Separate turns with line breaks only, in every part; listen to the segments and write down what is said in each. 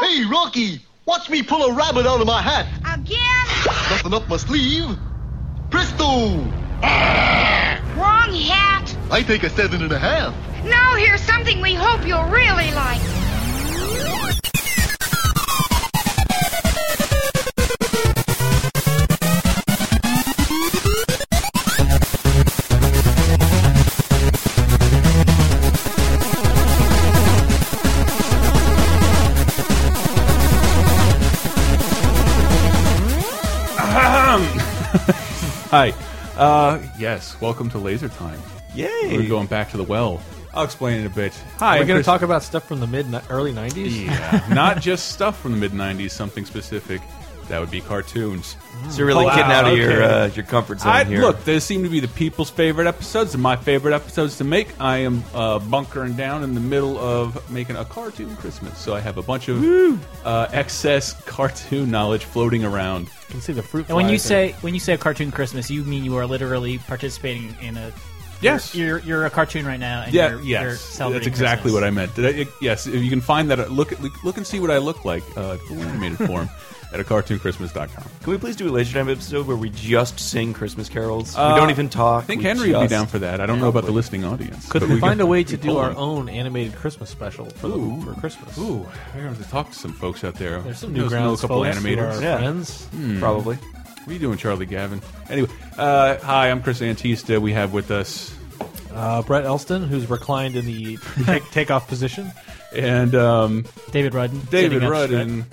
Hey, Rocky, watch me pull a rabbit out of my hat.
Again?
Nothing up my sleeve. Presto!
Wrong hat.
I take a seven and a half.
Now here's something we hope you'll really like.
Hi. Uh, yes, welcome to Laser Time.
Yay!
We're going back to the well. I'll explain in a bit.
Hi,
I'm
we're going to
Chris-
talk about stuff from the mid early '90s.
Yeah, not just stuff from the mid '90s. Something specific. That would be cartoons.
So you're really
Wow,
getting out of your
okay.
uh, your comfort zone
I,
here.
look, they seem to be the people's favorite episodes and my favorite episodes to make. I am uh, bunkering down in the middle of making a cartoon Christmas, so I have a bunch of uh, excess cartoon knowledge floating around.
You can see the fruit.
And when you
flies
say when you say a cartoon Christmas, you mean you are literally participating in a
Yes.
You're you're a cartoon right now. And
Yeah,
you're,
yes,
You're
that's
celebrating
exactly
Christmas.
what I meant. Did I, it- yes, if you can find that, uh, look at look, look and see what I look like uh, full animated form at a cartoonchristmas.com.
Can we please do a laser time episode where we just sing Christmas carols?
Uh,
we don't even talk.
I think
we
Henry would be
just-
down for that. I don't know about the listening audience.
Could
but
we
could-
find a way to
could
do
pull
our
them.
own animated Christmas special for,
Ooh.
the, for Christmas?
Ooh, I have to talk to some folks out there.
There's some
I
new
know
grounds.
A couple
folks who
animators.
are
Yeah.
Friends.
Probably.
What are you doing, Charlie Gavin? Anyway, uh, hi, I'm Chris Antista. We have with us,
Uh, Brett Elston, who's reclined in the take, takeoff position.
and um,
David Rudden.
David
sitting up
Rudden.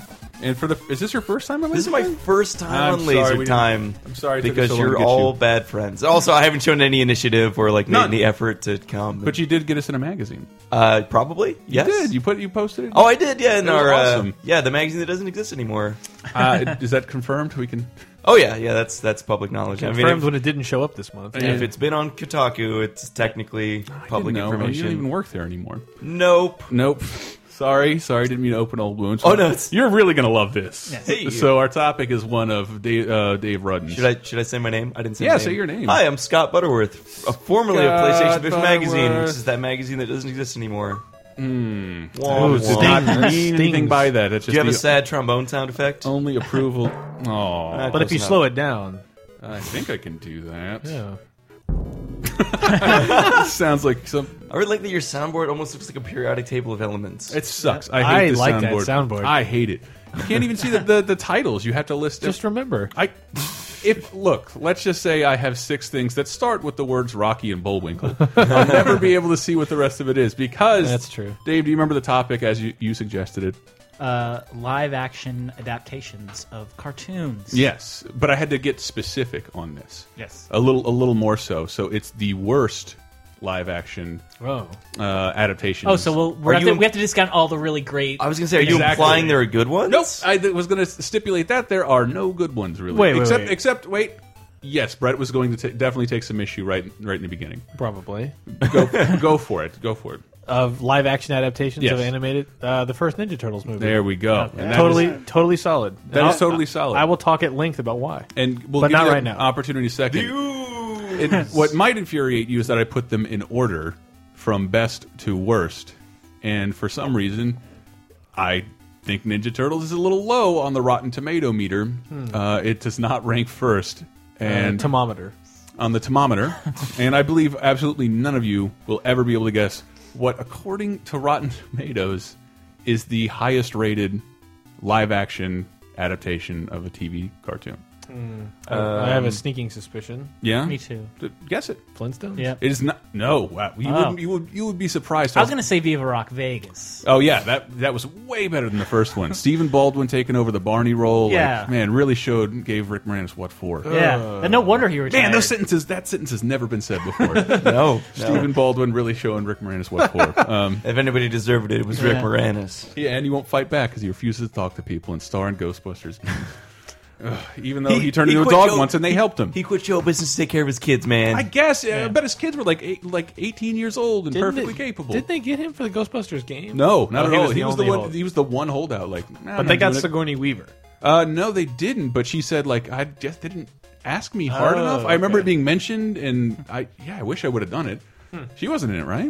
And for the is this your first time? on
This is
Laser
my
Time?
first time
I'm
on
sorry,
laser
we didn't-
time.
I'm sorry it took us
because
so long to
you're
get
all
you.
bad friends. Also, I haven't shown any initiative or like made
None.
any effort to come.
But you did get us in a magazine.
uh, probably yes.
You did. You put you posted it.
Oh, I did. Yeah, in
That was
our
awesome.
uh, yeah the magazine that doesn't exist anymore.
uh, is that confirmed? We can.
Oh yeah, yeah. That's that's public knowledge. I mean,
Confirmed
if,
when it didn't show up this month.
if it's been on Kotaku, it's technically public
no, Oh, You
information.
don't even work there anymore.
Nope.
Nope. Sorry, sorry, didn't mean to open old wounds.
Oh, no, it's-
you're really gonna love this.
Hey.
So our topic is one of Dave, uh, Dave Rudden.
Should I should I say my name? I didn't say.
Yeah,
my
say your name.
Hi, I'm Scott Butterworth, a formerly of PlayStation
Scott
Biff magazine,
Butterworth.
which is that magazine that doesn't exist anymore. Mm.
Oh, it did not mean anything
Stings.
by that. It's just
Do you have
the
a sad trombone sound effect?
only approval. Oh,
Uh,
but if
close
you
enough.
slow it down,
I think I can do that.
yeah.
Sounds like some.
I really like that your soundboard almost looks like a periodic table of elements.
It sucks. I hate
I
this
like that
soundboard.
soundboard.
I hate it. You can't even see the, the, the titles. You have to list
Just
it.
remember,
I, if look, let's just say I have six things that start with the words Rocky and Bullwinkle. I'll never be able to see what the rest of it is because
That's true.
Dave, do you remember the topic as you, you suggested it?
Uh, live action adaptations of cartoons.
Yes, but I had to get specific on this.
Yes.
a little, a little more so. So it's the worst live action
whoa.
uh, adaptation.
Oh, so we'll, we're
Are
have to,
you-
we have to discount all the really great.
I was gonna say, are you
Exactly.
implying there are good ones?
Nope, I th- was going to stipulate that there are no good ones really.
Wait, wait,
except
wait.
except wait. Yes, Brett was going to ta definitely take some issue right right in the beginning.
Probably.
Go go for it. Go for it.
Of live action adaptations
Yes.
of animated, uh, the first Ninja Turtles movie.
There we go. And that
totally,
is-
totally solid.
That
And
is
I'll-
totally solid.
I will talk at length about why.
and we'll
but
give
not
you that
right now.
Opportunity second. It- what might infuriate you is that I put them in order from best to worst, and for some reason, I think Ninja Turtles is a little low on the Rotten Tomato meter. Uh, it does not rank first, and
Hmm. Uh, thermometer.
on the thermometer, and I believe absolutely none of you will ever be able to guess what, according to Rotten Tomatoes, is the highest rated live action adaptation of a TV cartoon.
I have a sneaking suspicion.
Yeah,
Me too.
D- Guess it.
Flintstones.
Yep.
It is not. No, wow. you,
Oh.
would, you would you would be surprised.
I was gonna say Viva Rock Vegas.
Oh yeah, that that was way better than the first one. Stephen Baldwin taking over the Barney role. like,
Yeah. Uh,
man, really showed gave Rick Moranis what for.
yeah, and no wonder he retired.
Uh, Man, those sentences that sentence has never been said before.
No. no.
Stephen Baldwin really showing Rick Moranis what for. Um,
If anybody deserved it, it was Rick Moranis.
Yeah, and he won't fight back because he refuses to talk to people and star in Ghostbusters. Ugh, even though Oh, he, turned into a
quit
dog
show-
once and they helped him.
He quit show business to take care of his kids, man.
I guess. uh, I bet his kids were like eight, like eighteen years old and perfectly capable.
Did they get him for the Ghostbusters game?
No, not
Oh,
at
he
all.
was
he
the
was the
only
one.
hold-
He was the one holdout. Like, nah, I'm
But they
not
got
doing it.
Sigourney Weaver.
Uh, no, they didn't. But she said, like, I just they didn't ask me hard
Oh,
enough. I remember
okay. Hmm.
it being mentioned, and I yeah, I wish I would have done it. She wasn't in it, right?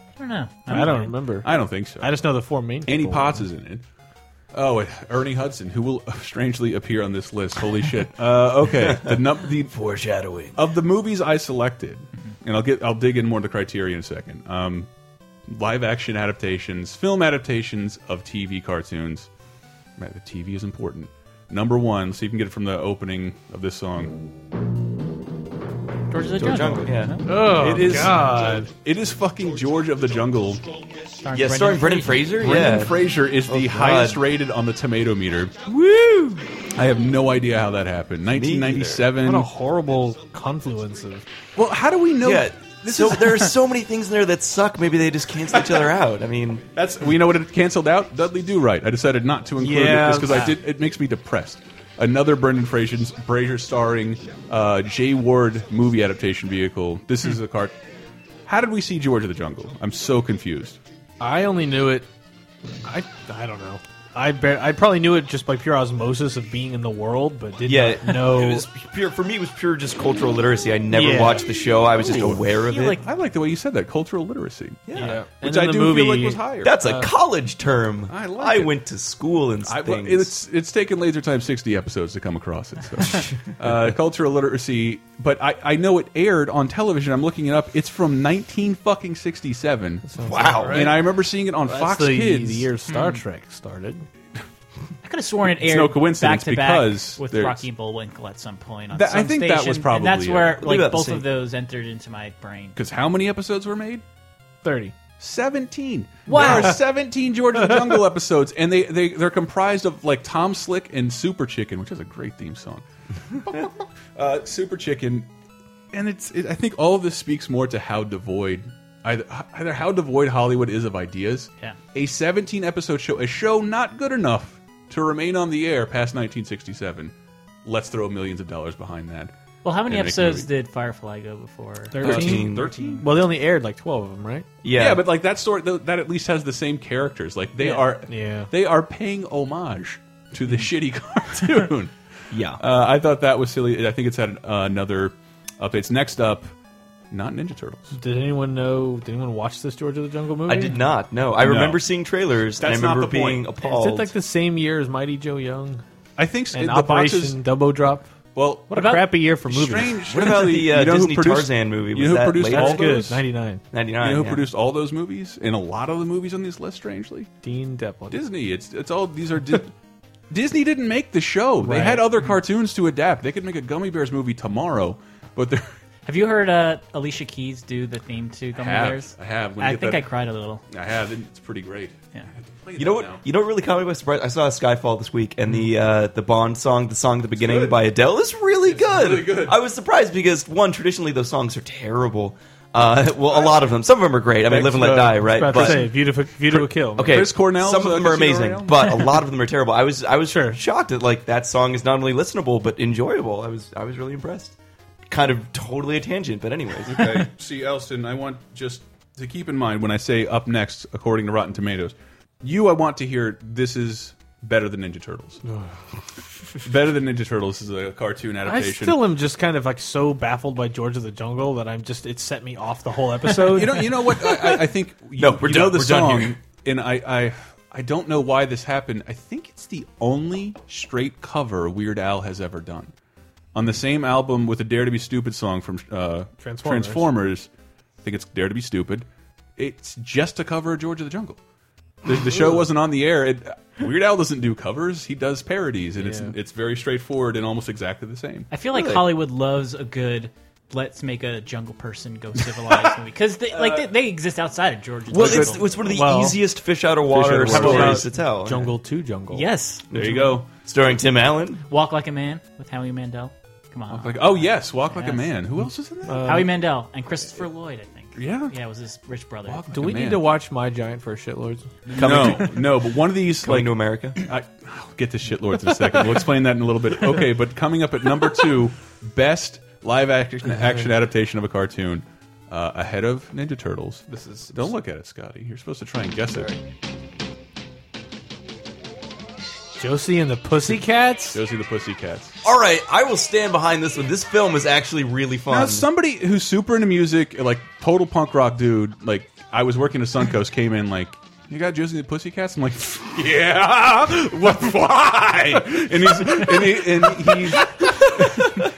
I don't know.
I don't remember. I,
I don't think so.
just know the four main.
Annie
people.
Potts is in it. Oh, and Ernie Hudson, who will strangely appear on this list. Holy shit! Uh, okay, the, num the
Foreshadowing.
of the movies I selected,
Mm-hmm.
and I'll get I'll dig in more to criteria in a second. Um, live action adaptations, film adaptations of TV cartoons. Man, the TV is important. Number one, so you can get it from the opening of this song.
George of the
George
Jungle.
Jungle, yeah.
Oh,
It is
God.
it is fucking George of the Jungle.
Starring
Yeah,
Brendan
starring Brendan
Fraser.
Fraser.
Brendan
yeah.
Fraser is the
God.
highest rated on the tomato meter. Woo! I have no idea how that happened. 1997.
What a horrible confluence of.
Well, how do we know?
Yeah.
This
so
is
there are so many things in there that suck. Maybe they just cancel each other out. I mean,
That's we know what it canceled out. Dudley Do Right. I decided not to include
Yeah.
it because I did. It makes me depressed. Another Brendan Fraser's Fraser starring uh, Jay Ward movie adaptation vehicle. This is a cart. How did we see George of the Jungle? I'm so confused.
I only knew it. I I don't know. I bar- I probably knew it just by pure osmosis of being in the world, but did
yeah,
Uh,
not know.
It was pure for me. It was pure just cultural literacy. I never
Yeah.
watched the show. I was just aware of
You
it.
like-
I like the way you said that. Cultural literacy.
yeah.
yeah.
Which
And then
I
the
do
movie,
feel like was higher.
That's a college term.
Uh, I like it.
went to school and
I,
things.
well, it's it's taken Laser Time 60 episodes to come across it. So. uh, cultural literacy, but I, I know it aired on television. I'm looking it up. It's from 19 fucking 67.
wow.
And I remember seeing it on Fox
That's the,
Kids.
the year Star Trek started.
I could have sworn it aired.
no coincidence
back to
because
back with
there's-
Rocky Bullwinkle at some point. On
That- I
some
think that was
station,
probably
And that's
it.
where
about the
like both
same.
of those entered into my brain.
Because how many episodes were made?
Thirty.
17.
Wow.
There are 17 George of the Jungle episodes, and they, they, they're comprised of like Tom Slick and Super Chicken, which is a great theme song. uh, Super Chicken. And it's, it, I think all of this speaks more to how devoid, either, either how devoid Hollywood is of ideas.
Yeah.
A 17 episode show, a show not good enough to remain on the air past 1967. Let's throw millions of dollars behind that.
Well, how many
And make
episodes
movies.
did Firefly go before?
Thirteen.
13?
Well, they only aired like twelve of them, right?
yeah.
Yeah, but like that story th that at least has the same characters. Like they
Yeah.
are
Yeah.
they are paying homage to the shitty cartoon.
yeah.
Uh, I thought that was silly. I think it's had uh, another updates. Next up, not Ninja Turtles.
Did anyone know? Did anyone watch this George of the Jungle movie?
I did not. No, I remember seeing trailers.
That's
and I
not
remember
the
being
point.
Is
appalled.
it like the same year as Mighty Joe Young
I think s-
and
the
Operation
boxes.
Double Drop?
Well,
What a
about-
crappy year for movies.
strange.
What about the uh,
you know who
Disney
produced-
Tarzan movie? Was
You know who
that
produced
later?
all
That's good.
those?
Ninety nine.
Ninety
You
nine.
know who produced all those movies and a lot of the movies on this list? Strangely,
Dean Devlin.
Disney. It's it's all these are. Di Disney didn't make the show. They
Right.
had other cartoons to adapt. They could make a Gummy Bears movie tomorrow, but they're
Have you heard uh, Alicia Keys do the theme to Gummy
have.
Bears?
I have. When you
I
get
think
that-
I cried a little.
I have. and It's pretty great.
Yeah.
You know what? You know what really caught me by surprise? I saw Skyfall this week, and the uh, the Bond song, the song at the beginning
good.
by Adele, is really good.
really good.
I was surprised because one, traditionally those songs are terrible. Uh, well, a lot of them. Some of them are great. I mean, "Live and Let
uh,
Die,"
I was
right?
about to say, beautiful, beautiful kill.
okay,
Chris Cornell's,
Some of
uh,
them are
Casino
amazing,
Royale?
but a lot of them are terrible. I was I was
Sure.
shocked that like that song is not only listenable but enjoyable. I was I was really impressed. Kind of totally a tangent, but anyways.
okay, see, Elston, I want just to keep in mind when I say up next, according to Rotten Tomatoes, you, I want to hear this is better than Ninja Turtles. better than Ninja Turtles is a cartoon
I
adaptation.
still am just kind of like so baffled by George of the Jungle that I'm just it set me off the whole episode.
you know, you know what? I, I- I think you,
No, we're
you
done.
know the
We're done
song,
here.
and I, I, I don't know why this happened. I think it's the only straight cover Weird Al has ever done. On the same album with the Dare to Be Stupid song from uh,
Transformers.
Transformers, I think it's Dare to Be Stupid. It's just a cover of George of the Jungle. The, the show wasn't on the air. It, Weird Al doesn't do covers; he does parodies, and it's
Yeah.
it's very straightforward and almost exactly the same.
I feel like
Really?
Hollywood loves a good let's make a jungle person go civilized movie because they, like they, they exist outside of Georgia.
Well, it's, it's one of the
Well-
easiest fish out of water
Fish out of water.
stories to tell.
Jungle to Jungle.
yes,
There you go.
Starring Tim Allen.
Walk Like a Man with Howie Mandel. Come on,
Like, oh yes, Walk Like a
Yes.
Man. Who else is in that?
Howie Mandel and Christopher Lloyd, I think.
yeah.
yeah, it was his rich brother. Uh,
Walk
Do
Like a
we need
Man.
to watch My Giant for Shitlords?
no, no, but one of these
Coming
like
to America.
I, I'll get to shitlords in a second. We'll explain that in a little bit. Okay, but coming up at number two, best live action action adaptation of a cartoon, uh, ahead of Ninja Turtles. This is don't look at it, Scotty. You're supposed to try and guess it.
Josie and the Pussycats?
Josie the Pussycats.
All right, I will stand behind this one. This film is actually really fun.
Now, somebody who's super into music, like total punk rock dude, like I was working at Suncoast, came in like, "You got Josie the Pussycats?" I'm like, yeah, what? Why? And he's and, he, and he's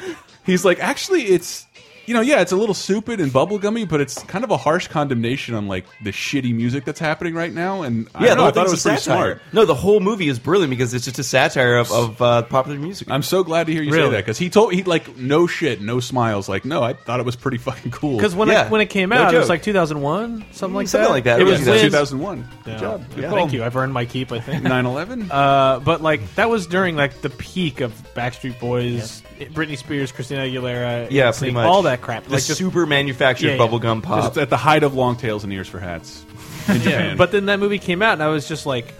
he's like, actually, it's you know, yeah, it's a little stupid and bubblegummy, but it's kind of a harsh condemnation on like the shitty music that's happening right now. And I,
Yeah,
don't know, I thought
the whole
it
thing's
was
a
pretty
satire.
smart.
No, the whole movie is brilliant because it's just a satire of, of uh, popular music.
I'm so glad to hear you say
Really?
that because he told he like no shit, no smiles. Like no, I thought it was pretty fucking cool.
Because when
Yeah.
it when it came
No
out, it was
joke.
like 2001, something like
Something
that.
like that,
It
yeah.
was
Yeah.
when-
2001. Good
Yeah.
job. Good
Yeah,
call.
Thank you. I've earned my keep. I think.
9/11.
Uh, but like that was during like the peak of Backstreet Boys, Britney Spears, Christina Aguilera,
yeah,
NSYNC,
pretty much
all that crap.
The
Like just-
super manufactured
Yeah, yeah.
bubblegum pop.
It's at the height of long tails and ears for hats in Japan.
But then that movie came out, and I was just like,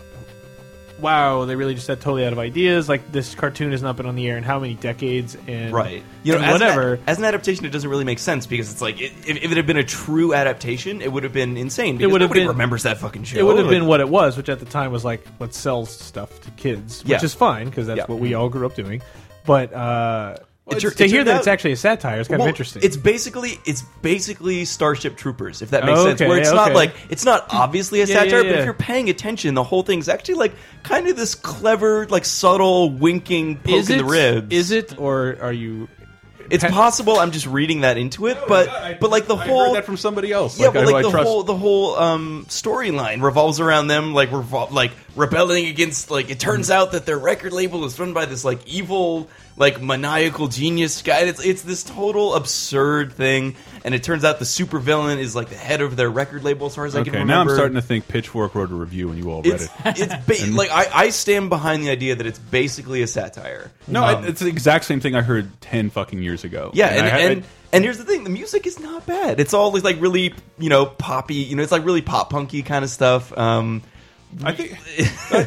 "Wow, they really just had totally out of ideas." Like this cartoon has not been on the air in how many decades, and
Right. You know,
and
as
whatever.
An, as an adaptation, it doesn't really make sense because it's like, it, if, if it had been a true adaptation, it would have been insane because
would have
nobody
been-
remembers that fucking show.
it would have been what it was, which at the time was like, "Let's sell stuff to kids," which
Yeah.
is fine because that's
Yeah.
what we all grew up doing. But uh,
It tur-
to
it
hear
turned
that
out-
it's actually a satire is kind
Well,
of interesting.
It's basically it's basically Starship Troopers, if that makes
Oh,
sense.
okay,
Where it's
yeah,
not
okay.
like it's not obviously a
Yeah, yeah,
satire, but
yeah.
if you're paying attention, the whole thing's actually like kind of this clever, like subtle winking poke
is
in
it,
the ribs.
Is it or are you?
It's possible I'm just reading that into it, but but like the
I
whole
heard that from somebody else.
yeah,
like,
but
I-
like
who I
the
trust.
whole the whole um, storyline revolves around them like revol- like rebelling against like it turns out that their record label is run by this like evil like maniacal genius guy. It's it's this total absurd thing, and it turns out the supervillain is like the head of their record label. As far as I can
okay,
remember,
now I'm starting to think Pitchfork wrote a review and you all read
It's
it.
it's ba- like I, I stand behind the idea that it's basically a satire.
No,
Um,
I, it's the exact same thing I heard ten fucking years ago.
Yeah,
I
and
had-
and, and here's the thing: the music is not bad. It's all like really you know poppy. You know, it's like really pop punky kind of stuff. Um,
I think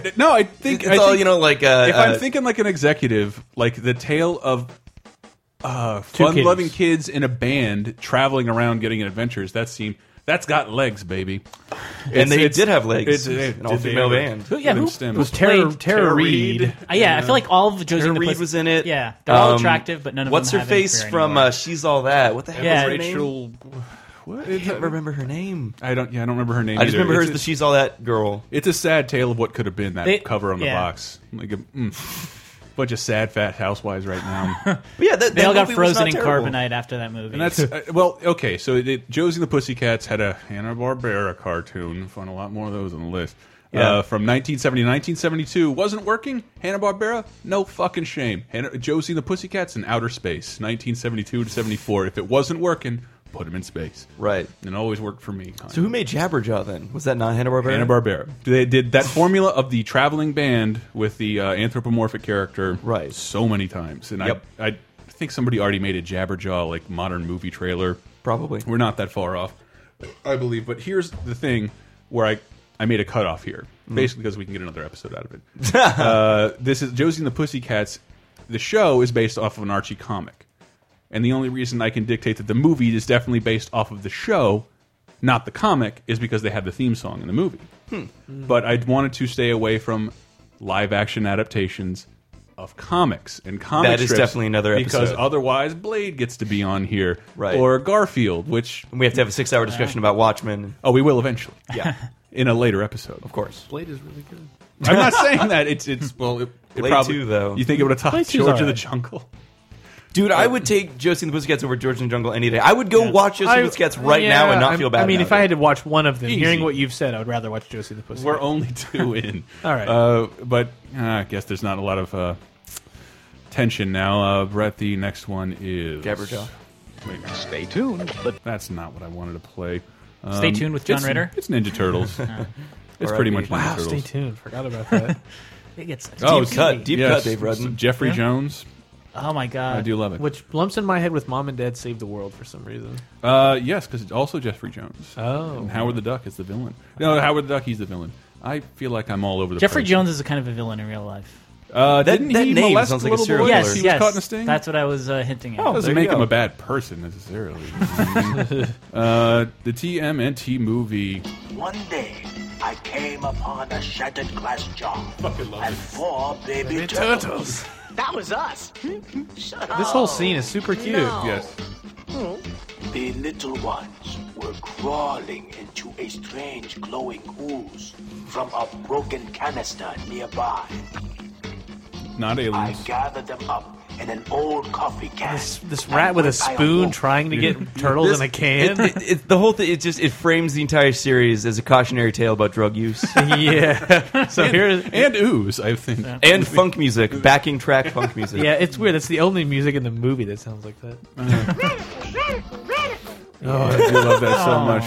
I- no, I think
it's
I
all
think
you know like uh,
If
uh,
I'm thinking like an executive, like the tale of uh, fun-loving kids. in a band traveling around getting an adventures, that seemed that's got legs, baby. It's-
and they
it's-
did have legs.
it's- it-
an all female
did they
band.
Who, yeah,
Them
who
stems.
was
Tara,
played-
Tara Reid.
Uh, yeah, I feel like all of Josie
Tara
and the
Reed
Pussycats-
was in it.
Yeah, they're all
Um,
attractive, but none of
What's
them
her
have any
face
career
from
anymore.
uh, She's All That? What the hell
Yeah.
was her name?
Rachel. What?
I can't remember her name.
I don't. Yeah, I don't remember her name.
I just
either.
remember her as
It's-
the She's All That girl.
It's a sad tale of what could have been that
They-
cover on the
yeah.
box. Like a mm, bunch of sad fat housewives right now.
But yeah, that,
They
that
all got
movie was
frozen
not
in
terrible.
carbonite after that movie.
and that's uh, well, okay. So it, it, Josie and the Pussycats had a Hanna Barbera cartoon. Found a lot more of those on the list.
Yeah.
Uh, from 1970 to 1972 wasn't working. Hanna Barbera, no fucking shame. Hanna, Josie and the Pussycats in outer space, 1972 to 74. If it wasn't working, put them in space.
Right.
And it always worked for me. kinda.
So who made Jabberjaw then? Was that not Hanna Barbera?
Hanna Barbera. They did that formula of the traveling band with the uh, anthropomorphic character,
Right.
So many times, and
Yep.
I, I think somebody already made a Jabberjaw like modern movie trailer.
Probably.
We're not that far off, I believe. But here's the thing where I I made a cutoff here,
Mm-hmm.
basically because we can get another episode out of it. uh, this is Josie and the Pussycats. The show is based off of an Archie comic, and the only reason I can dictate that the movie is definitely based off of the show, not the comic, is because they had the theme song in the movie.
Hmm.
But I wanted to stay away from live action adaptations. Of comics and comic
That is
strips
definitely another
because
episode.
otherwise Blade gets to be on here
Right.
or Garfield, which
And we have to have a six-hour discussion about Watchmen.
Oh, we will eventually.
Yeah,
In a later episode.
of course.
Blade is really good.
I'm not saying that. It's it's well it, it
Blade
probably,
two, though.
You think it would have topped
Blade two's
George of
all
the
right.
Jungle.
Dude, I would take Josie and the Pussycats over George and the Jungle any day. I would go watch Josie and the Pussycats right now and not
I'm-
feel bad.
I mean,
about
if I
it.
had to watch one of them,
Easy.
hearing what you've said, I would rather watch Josie and the Pussycat.
We're only two in.
All right.
Uh, but uh, I guess there's not a lot of uh, tension now. Uh, Brett, the next one is
Jabberjaw.
Wait,
Stay tuned. The
that's not what I wanted to play. Um,
Stay tuned with John
it's-
Ritter.
It's Ninja Turtles. it's pretty much Ninja
wow,
Turtles.
Oh, stay tuned. Forgot about that.
It gets such a
Oh,
deep
it's-
cut, deep
yes,
cut, Dave Rudden.
Jeffrey Jones.
Oh my god,
I do love it.
Which lumps in my head with Mom and Dad Saved the World for some reason.
Uh, yes, because it's also Jeffrey Jones.
Oh.
And Howard the Duck is the villain. No, Howard the Duck, he's the villain. I feel like I'm all over the
Jeffrey
place.
Jones is a kind of a villain in real life.
Uh,
That-
didn't
that
he
name
molest
sounds like a
little
serial
boys?
killer.
Yes,
He
yes,
was caught in a sting? Oh.
that's what I was uh, hinting at.
doesn't
There you
make him
go.
a bad person necessarily. uh, the TMNT movie.
One day, I came upon a shattered glass jar and four baby, turtles. That was us. Shut up.
This whole scene is super cute.
Yes.
The little ones were crawling into a strange glowing ooze from a broken canister nearby.
Not
I
aliens.
gathered them up in an old coffee can.
This, this rat with a spoon trying to get turtles in a can.
It, it, it- the whole thing, it just it frames the entire series as a cautionary tale about drug use
yeah. So here,
And ooze, I think.
and funk music, backing track funk music.
yeah, it's weird. That's the only music in the movie that sounds like that.
Radical, radical, radical.
I do love that so much.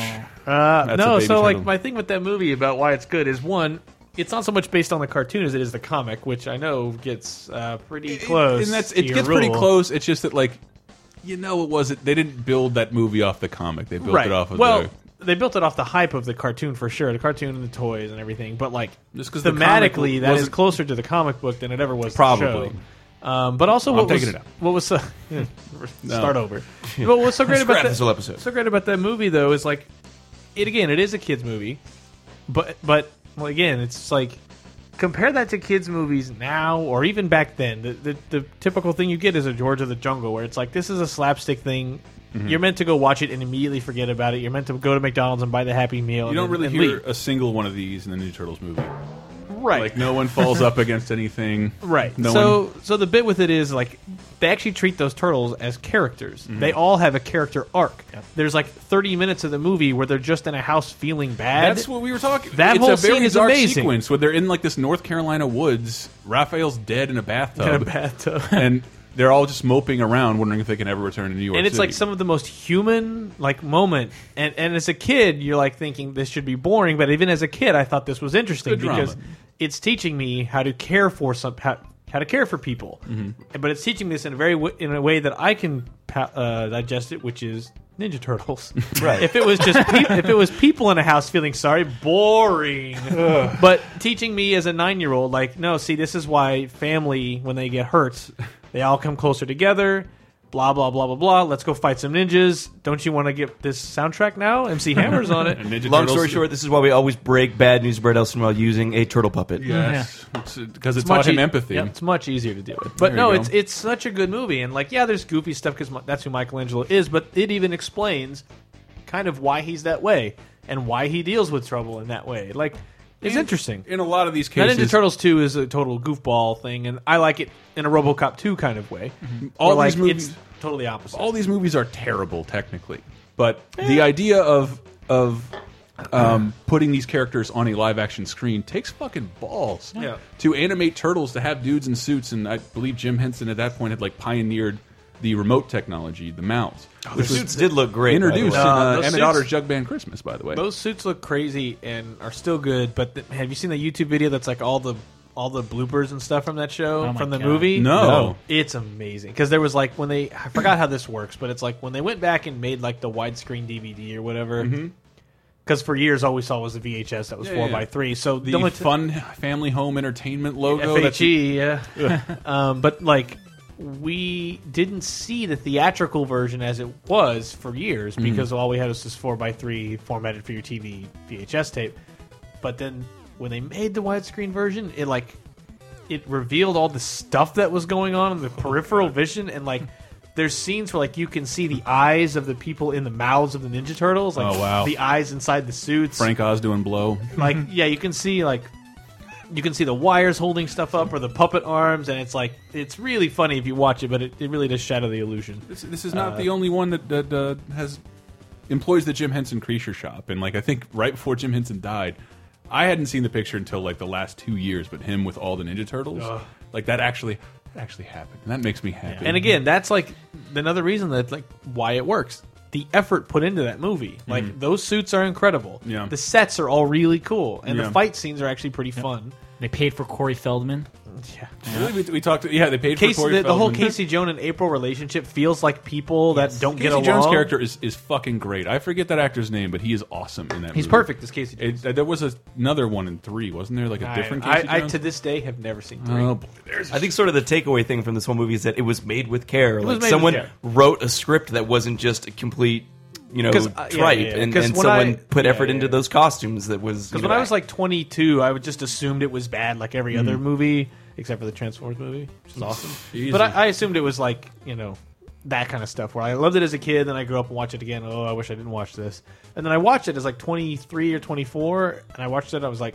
Uh,
That's a
no,
baby
so like
turtle.
my thing with that movie about why it's good is one, it's not so much based on the cartoon as it is the comic, which I know gets uh, pretty close.
and that's
to
it
your
gets pretty
rule.
close. It's just that like you know it wasn't they didn't build that movie off the comic. They built
right?
it off of
well,
the
they built it off the hype of the cartoon for sure, the cartoon and the toys and everything. But like
Just 'cause the comic
thematically, that is
wasn't-
closer to the comic book than it ever was. to the
Probably.
show. Um, but also, what was
taking it out.
what was so, start over? But what's so great about
Scrap
that
this whole episode.
So great about that movie though is like it again. It is a kids movie, but but well, again, it's like compare that to kids movies now or even back then. The, the the typical thing you get is a George of the Jungle, where it's like this is a slapstick thing.
Mm-hmm.
You're meant to go watch it and immediately forget about it. You're meant to go to McDonald's and buy the Happy Meal.
you don't
and,
really
and
hear
leave.
a single one of these in the New Turtles movie.
right.
Like no one falls up against anything.
Right.
No
so
one
so the bit with it is like they actually treat those turtles as characters.
Mm-hmm.
They all have a character arc. There's like 30 minutes of the movie where they're just in a house feeling bad.
that's what we were talking.
that
it's
whole
a very
scene is
dark
amazing.
sequence where they're in like this North Carolina woods. Raphael's dead in a bathtub,
In a bathtub.
and they're all just moping around, wondering if they can ever return to New York.
and it's like
City.
some of the most human like moment. And and as a kid, you're like thinking this should be boring, but even as a kid, I thought this was interesting
Good drama.
because it's teaching me how to care for some how, how to care for people. But it's teaching this in a very w- in a way that I can pa- uh, digest it, which is Ninja Turtles.
Right.
If it was just peop if it was people in a house feeling sorry, boring. but teaching me as a nine year old, like, no, see, this is why family when they get hurt, they all come closer together. Blah blah blah blah blah. Let's go fight some ninjas. Don't you want to get this soundtrack now? MC Hammer's on it.
And Ninja
Long
Turtles-
story short, this is why we always break bad news Brad Elson while using a turtle puppet.
yes, because it taught him
e-
empathy.
yeah, it's much easier to do it. But
you
no,
go.
it's it's such a good movie, and like yeah, there's goofy stuff because that's who Michelangelo is. But it even explains kind of why he's that way and why he deals with trouble in that way. Like it's interesting.
In a lot of these
Now,
cases,
Ninja Turtles Two is a total goofball thing, and I like it in a RoboCop Two kind of way.
Mm-hmm. All
Where,
these
like,
movies-
it's totally opposite.
all these movies are terrible technically, but
Eh.
the idea of of um, putting these characters on a live action screen takes fucking balls.
Yeah.
To animate turtles to have dudes in suits, and I believe Jim Henson at that point had like pioneered the remote technology, the mouse,
The
which was
Oh, suits did look great. by the
introduced
way.
in
Uh,
uh,
those
Emmett
suits-
Otter's Jug Band Christmas, by the way.
Those suits look crazy and are still good, but th- have you seen the YouTube video that's like all the all the bloopers and stuff from that show
Oh my
from the
God.
movie?
No. No.
it's amazing because there was like when they I forgot how this works, but it's like when they went back and made like the widescreen DVD or whatever. Because for years, all we saw was the VHS that
Mm-hmm.
was
Yeah,
four
yeah.
by three. So
the
the only t-
fun family home entertainment logo. that's-
E
FHE, E, yeah. um, but like we didn't see the theatrical version as it was for years
Mm-hmm.
because all we had was this four x three formatted for your TV VHS tape. But then when they made the widescreen version, it like it revealed all the stuff that was going on in the
Oh,
peripheral vision and like there's scenes where like you can see the eyes of the people in the mouths of the Ninja Turtles, like
Oh, wow.
the eyes inside the suits
Frank Oz doing blow.
like yeah you can see like you can see the wires holding stuff up or the puppet arms and it's like it's really funny if you watch it but it, it really does shatter the illusion
This, this is
Uh,
not the only one that, that uh, has employs the Jim Henson Creature Shop, and like I think right before Jim Henson died, I hadn't seen the picture until like the last two years. But him with all the Ninja Turtles,
Uh.
like that actually that actually happened, and that makes me happy.
and again that's like another reason that like why it works the effort put into that movie like those suits are incredible
Mm-hmm. Yeah.
the sets are all really cool and
Yeah.
the fight scenes are actually pretty fun
They paid for Corey Feldman.
Hmm.
yeah
we, we talked. Yeah, they paid
Casey,
for Corey
the, the whole
Feldman.
Casey Joan and April relationship feels like people that don't
Casey
get along.
Jones' character is, is fucking great. I forget that actor's name, but he is awesome in that.
He's
movie.
perfect as Casey Jones.
It, there was a, another one in three, wasn't there? Like a different
I,
Casey
I,
Jones.
to this day have never seen three.
oh boy, there's
I think sort of the takeaway thing from this whole movie is that it was made with care.
was
Like
made with
someone
care.
wrote a script that wasn't just a complete, you know,
'Cause,
tripe,
uh, yeah, yeah, yeah.
and,
'Cause
and
when
someone
I-
put
yeah,
effort
yeah,
into
yeah.
those costumes that was. you
Because
know,
when I was like 22, I would just assumed it was bad, like every
Hmm.
other movie, except for the Transformers movie, which is awesome.
Easy.
But I, I assumed it was like you know that kind of stuff where I loved it as a kid, then I grew up and watched it again. Oh, I wish I didn't watch this. And then I watched it as like 23 or 24, and I watched it. I was like,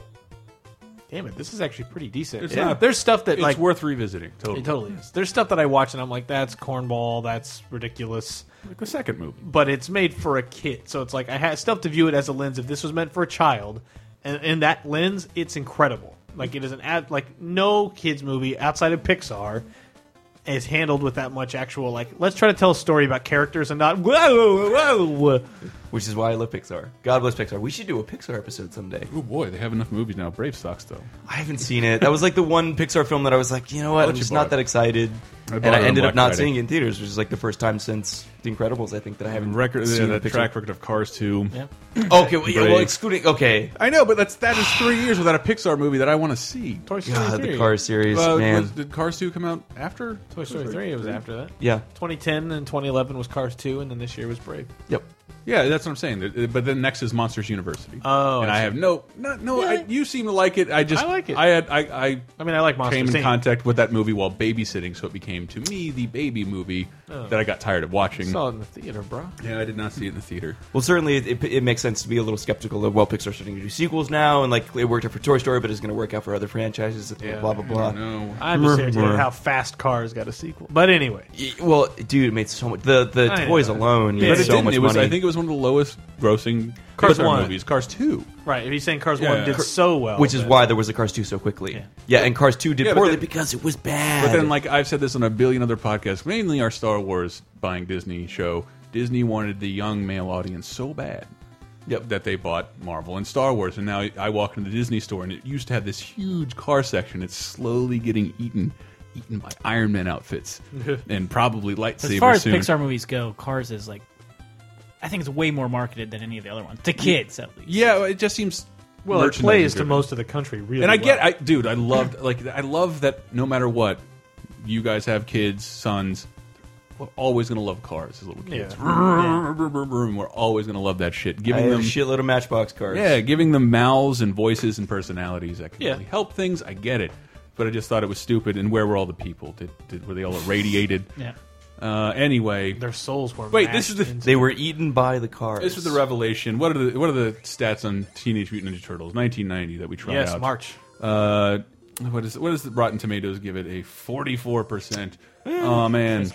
damn it, this is actually pretty decent.
It's not-
There's stuff that
It's
like
worth revisiting. Totally.
it totally is. There's stuff that I watch and I'm like, that's cornball, that's ridiculous.
Like the second movie.
But it's made for a kid, so it's like I had stuff to view it as a lens. If this was meant for a child, and in that lens, it's incredible. Like it is an ad, like no kids movie outside of Pixar is handled with that much actual like. Let's try to tell a story about characters and not whoa whoa. whoa.
which is why I love Pixar. God bless Pixar. We should do a Pixar episode someday.
Oh boy, they have enough movies now. Brave sucks though.
I haven't seen it. That was like the one Pixar film that I was like, you know what, I'm
you
just
borrow
not that
it.
excited.
I
and
borrowed it
I
on
ended up
Black
not
Friday.
seeing it in theaters, which is like the first time since The Incredibles, I think, that I haven't
Record
seen
yeah,
a
the
Pixar.
track record of Cars Two.
Yeah.
Okay, well, yeah, well,
Brave.
excluding. Okay,
I know, but that's that is three years without a Pixar movie that I want to see.
Toy Story
God,
three.
the Cars series,
Uh,
man.
was- did Cars Two come out after
Toy Story three. It was after that.
yeah.
2010 and 2011 was Cars two, and then this year was Brave.
Yep.
Yeah, that's what I'm saying. Th- But then next is Monsters University.
Oh,
and I
I see.
have no, no, no. I,
Really?
you seem to like it. I just,
I like it.
I had, I, I
I mean, I like Monsters.
came in
Inc.
contact with that movie while babysitting, so it became to me the baby movie
Oh.
that I got tired of watching.
Saw it in the theater, bro.
Yeah, I did not see it in the theater.
Well, certainly it, it, it makes sense to be a little skeptical of well, Pixar's starting to do sequels now, and like it worked out for Toy Story, but it's going to work out for other franchises.
Yeah.
Blah blah blah.
No,
I'm just
Brr,
irritated
brr.
how fast Cars got a sequel. But anyway,
Y- Well, dude, it made so much. The the
I
toys
know.
alone
Yeah.
made
but it
so
didn't.
much
It was,
money.
I think it was one of the lowest grossing
Cars
Pixar
one.
movies. Cars two.
right? If you're saying Cars
Yeah.
one did
Cr-
so well,
which is
then-
why there was a Cars 2 so quickly. Yeah, and Cars 2 did
Yeah, but
poorly
then-
because it was bad.
But then, like I've said this on a billion other podcasts, mainly our Star Wars buying Disney show, Disney wanted the young male audience so bad
Yep.
that they bought Marvel and Star Wars. And now I walk into the Disney store, and it used to have this huge car section. It's slowly getting eaten, eaten by Iron Man outfits and probably lightsabers
As far as
soon.
Pixar movies go, Cars is like, I think it's way more marketed than any of the other ones to kids at least.
yeah, it just seems
well, it plays to
merchandising-driven.
most of the country, really.
and I get,
well.
I dude, I loved like I love that no matter what, you guys have kids, sons. We're always gonna love cars as little kids.
Yeah.
We're always gonna love that shit.
I
Giving
have
them
a shitload of Matchbox cars.
yeah, giving them mouths and voices and personalities that can
Yeah.
really help things. I get it, but I just thought it was stupid. And where were all the people? Did, did were they all irradiated?
Yeah.
Uh, anyway,
their souls were.
Wait, this
mashed
is the-
into-
They were eaten by the cars.
this was the revelation. What are the what are the stats on Teenage Mutant Ninja Turtles 1990 that we tried
yes,
out?
March.
Uh, what is what does the Rotten Tomatoes give it? A forty-four percent. Oh
Hmm,
man!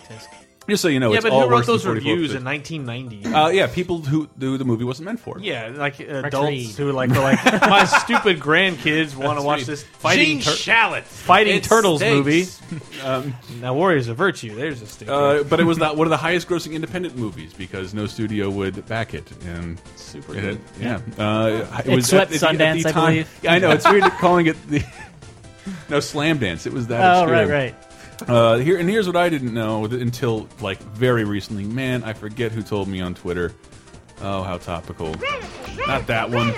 Just so you know,
Yeah,
it's
but
all
who
worse
wrote those
than
reviews in
44%.
1990?
uh, yeah, people who who the movie wasn't meant for.
yeah, like
Reed.
adults who like were like my stupid grandkids want to watch
Reed.
this fighting
Gene
tur- fighting
It
turtles
stinks.
movie. um, now, Warriors of Virtue. There's a stupid
Uh, but it was not one of the highest grossing independent movies because no studio would back it. And
super.
it,
good.
yeah, Uh, it,
It
was
swept
at the- at the
Sundance, I
time-
believe.
Yeah, I know it's weird calling it the no slam dance. It was that.
Oh
obscure.
right, right.
Uh, here and here's what I didn't know th- until like very recently. Man, I forget who told me on Twitter. Oh, how topical! Not that one.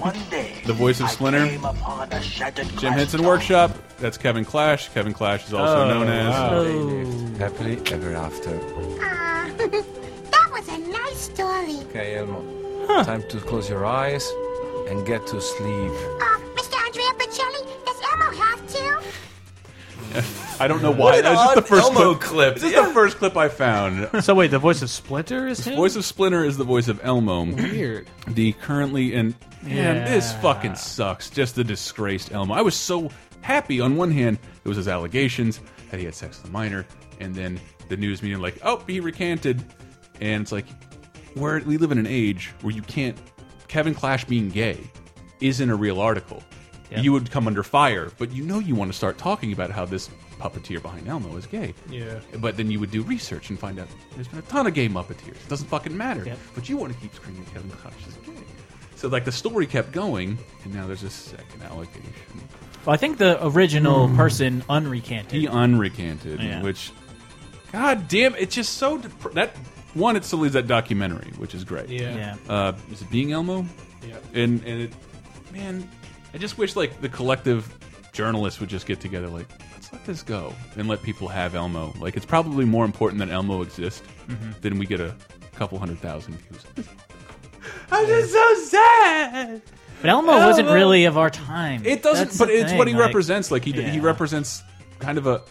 One day,
The voice of
I
Splinter.
came upon a shattered
Jim
glass
Henson
jar.
Workshop. That's Kevin Clash. Kevin Clash is also
Oh,
known as.
wow.
Happily ever after.
Ah, that was a nice story.
Okay, Elmo. Time to close your eyes and get to sleep.
Uh, Mr. Andrea Bocelli, does Elmo have to?
I don't know
What
why.
an
That's just
odd
the first
Elmo
clip.
clip.
This is
Yeah.
the first clip I found.
So wait, the Uh, voice of Splinter is him.
voice of Splinter is the voice of Elmo.
Weird.
The currently and man,
Yeah.
this fucking sucks. Just the disgraced Elmo. I was so happy. On one hand, it was his allegations that he had sex with a minor, and then the news media like, oh, he recanted, and it's like, where we live in an age where you can't. Kevin Clash being gay isn't a real article.
Yeah.
You would come under fire, but you know you want to start talking about how this puppeteer behind Elmo is gay.
Yeah.
But then you would do research and find out there's been a ton of gay Muppeteers. It doesn't fucking matter.
Yep.
But you want to keep screaming Kevin Koch is gay. So like the story kept going, and now there's a second allegation.
Well, I think the original person unrecanted.
Hmm. He unrecanted,
Yeah.
which, god damn, it's just so dep that one. It still leaves that documentary, which is great.
Yeah.
yeah.
Uh, is it being Elmo?
Yeah.
And and it, man, I just wish like the collective journalists would just get together, like let's let this go and let people have Elmo. Like it's probably more important that Elmo exists
Mm-hmm.
than we get a couple hundred thousand views. I'm just so sad.
But Elmo
Elmo-
wasn't really of our time.
It doesn't,
That's
but
the
it's
thing,
what he
like-
represents. Like he d he
Yeah.
represents kind of a.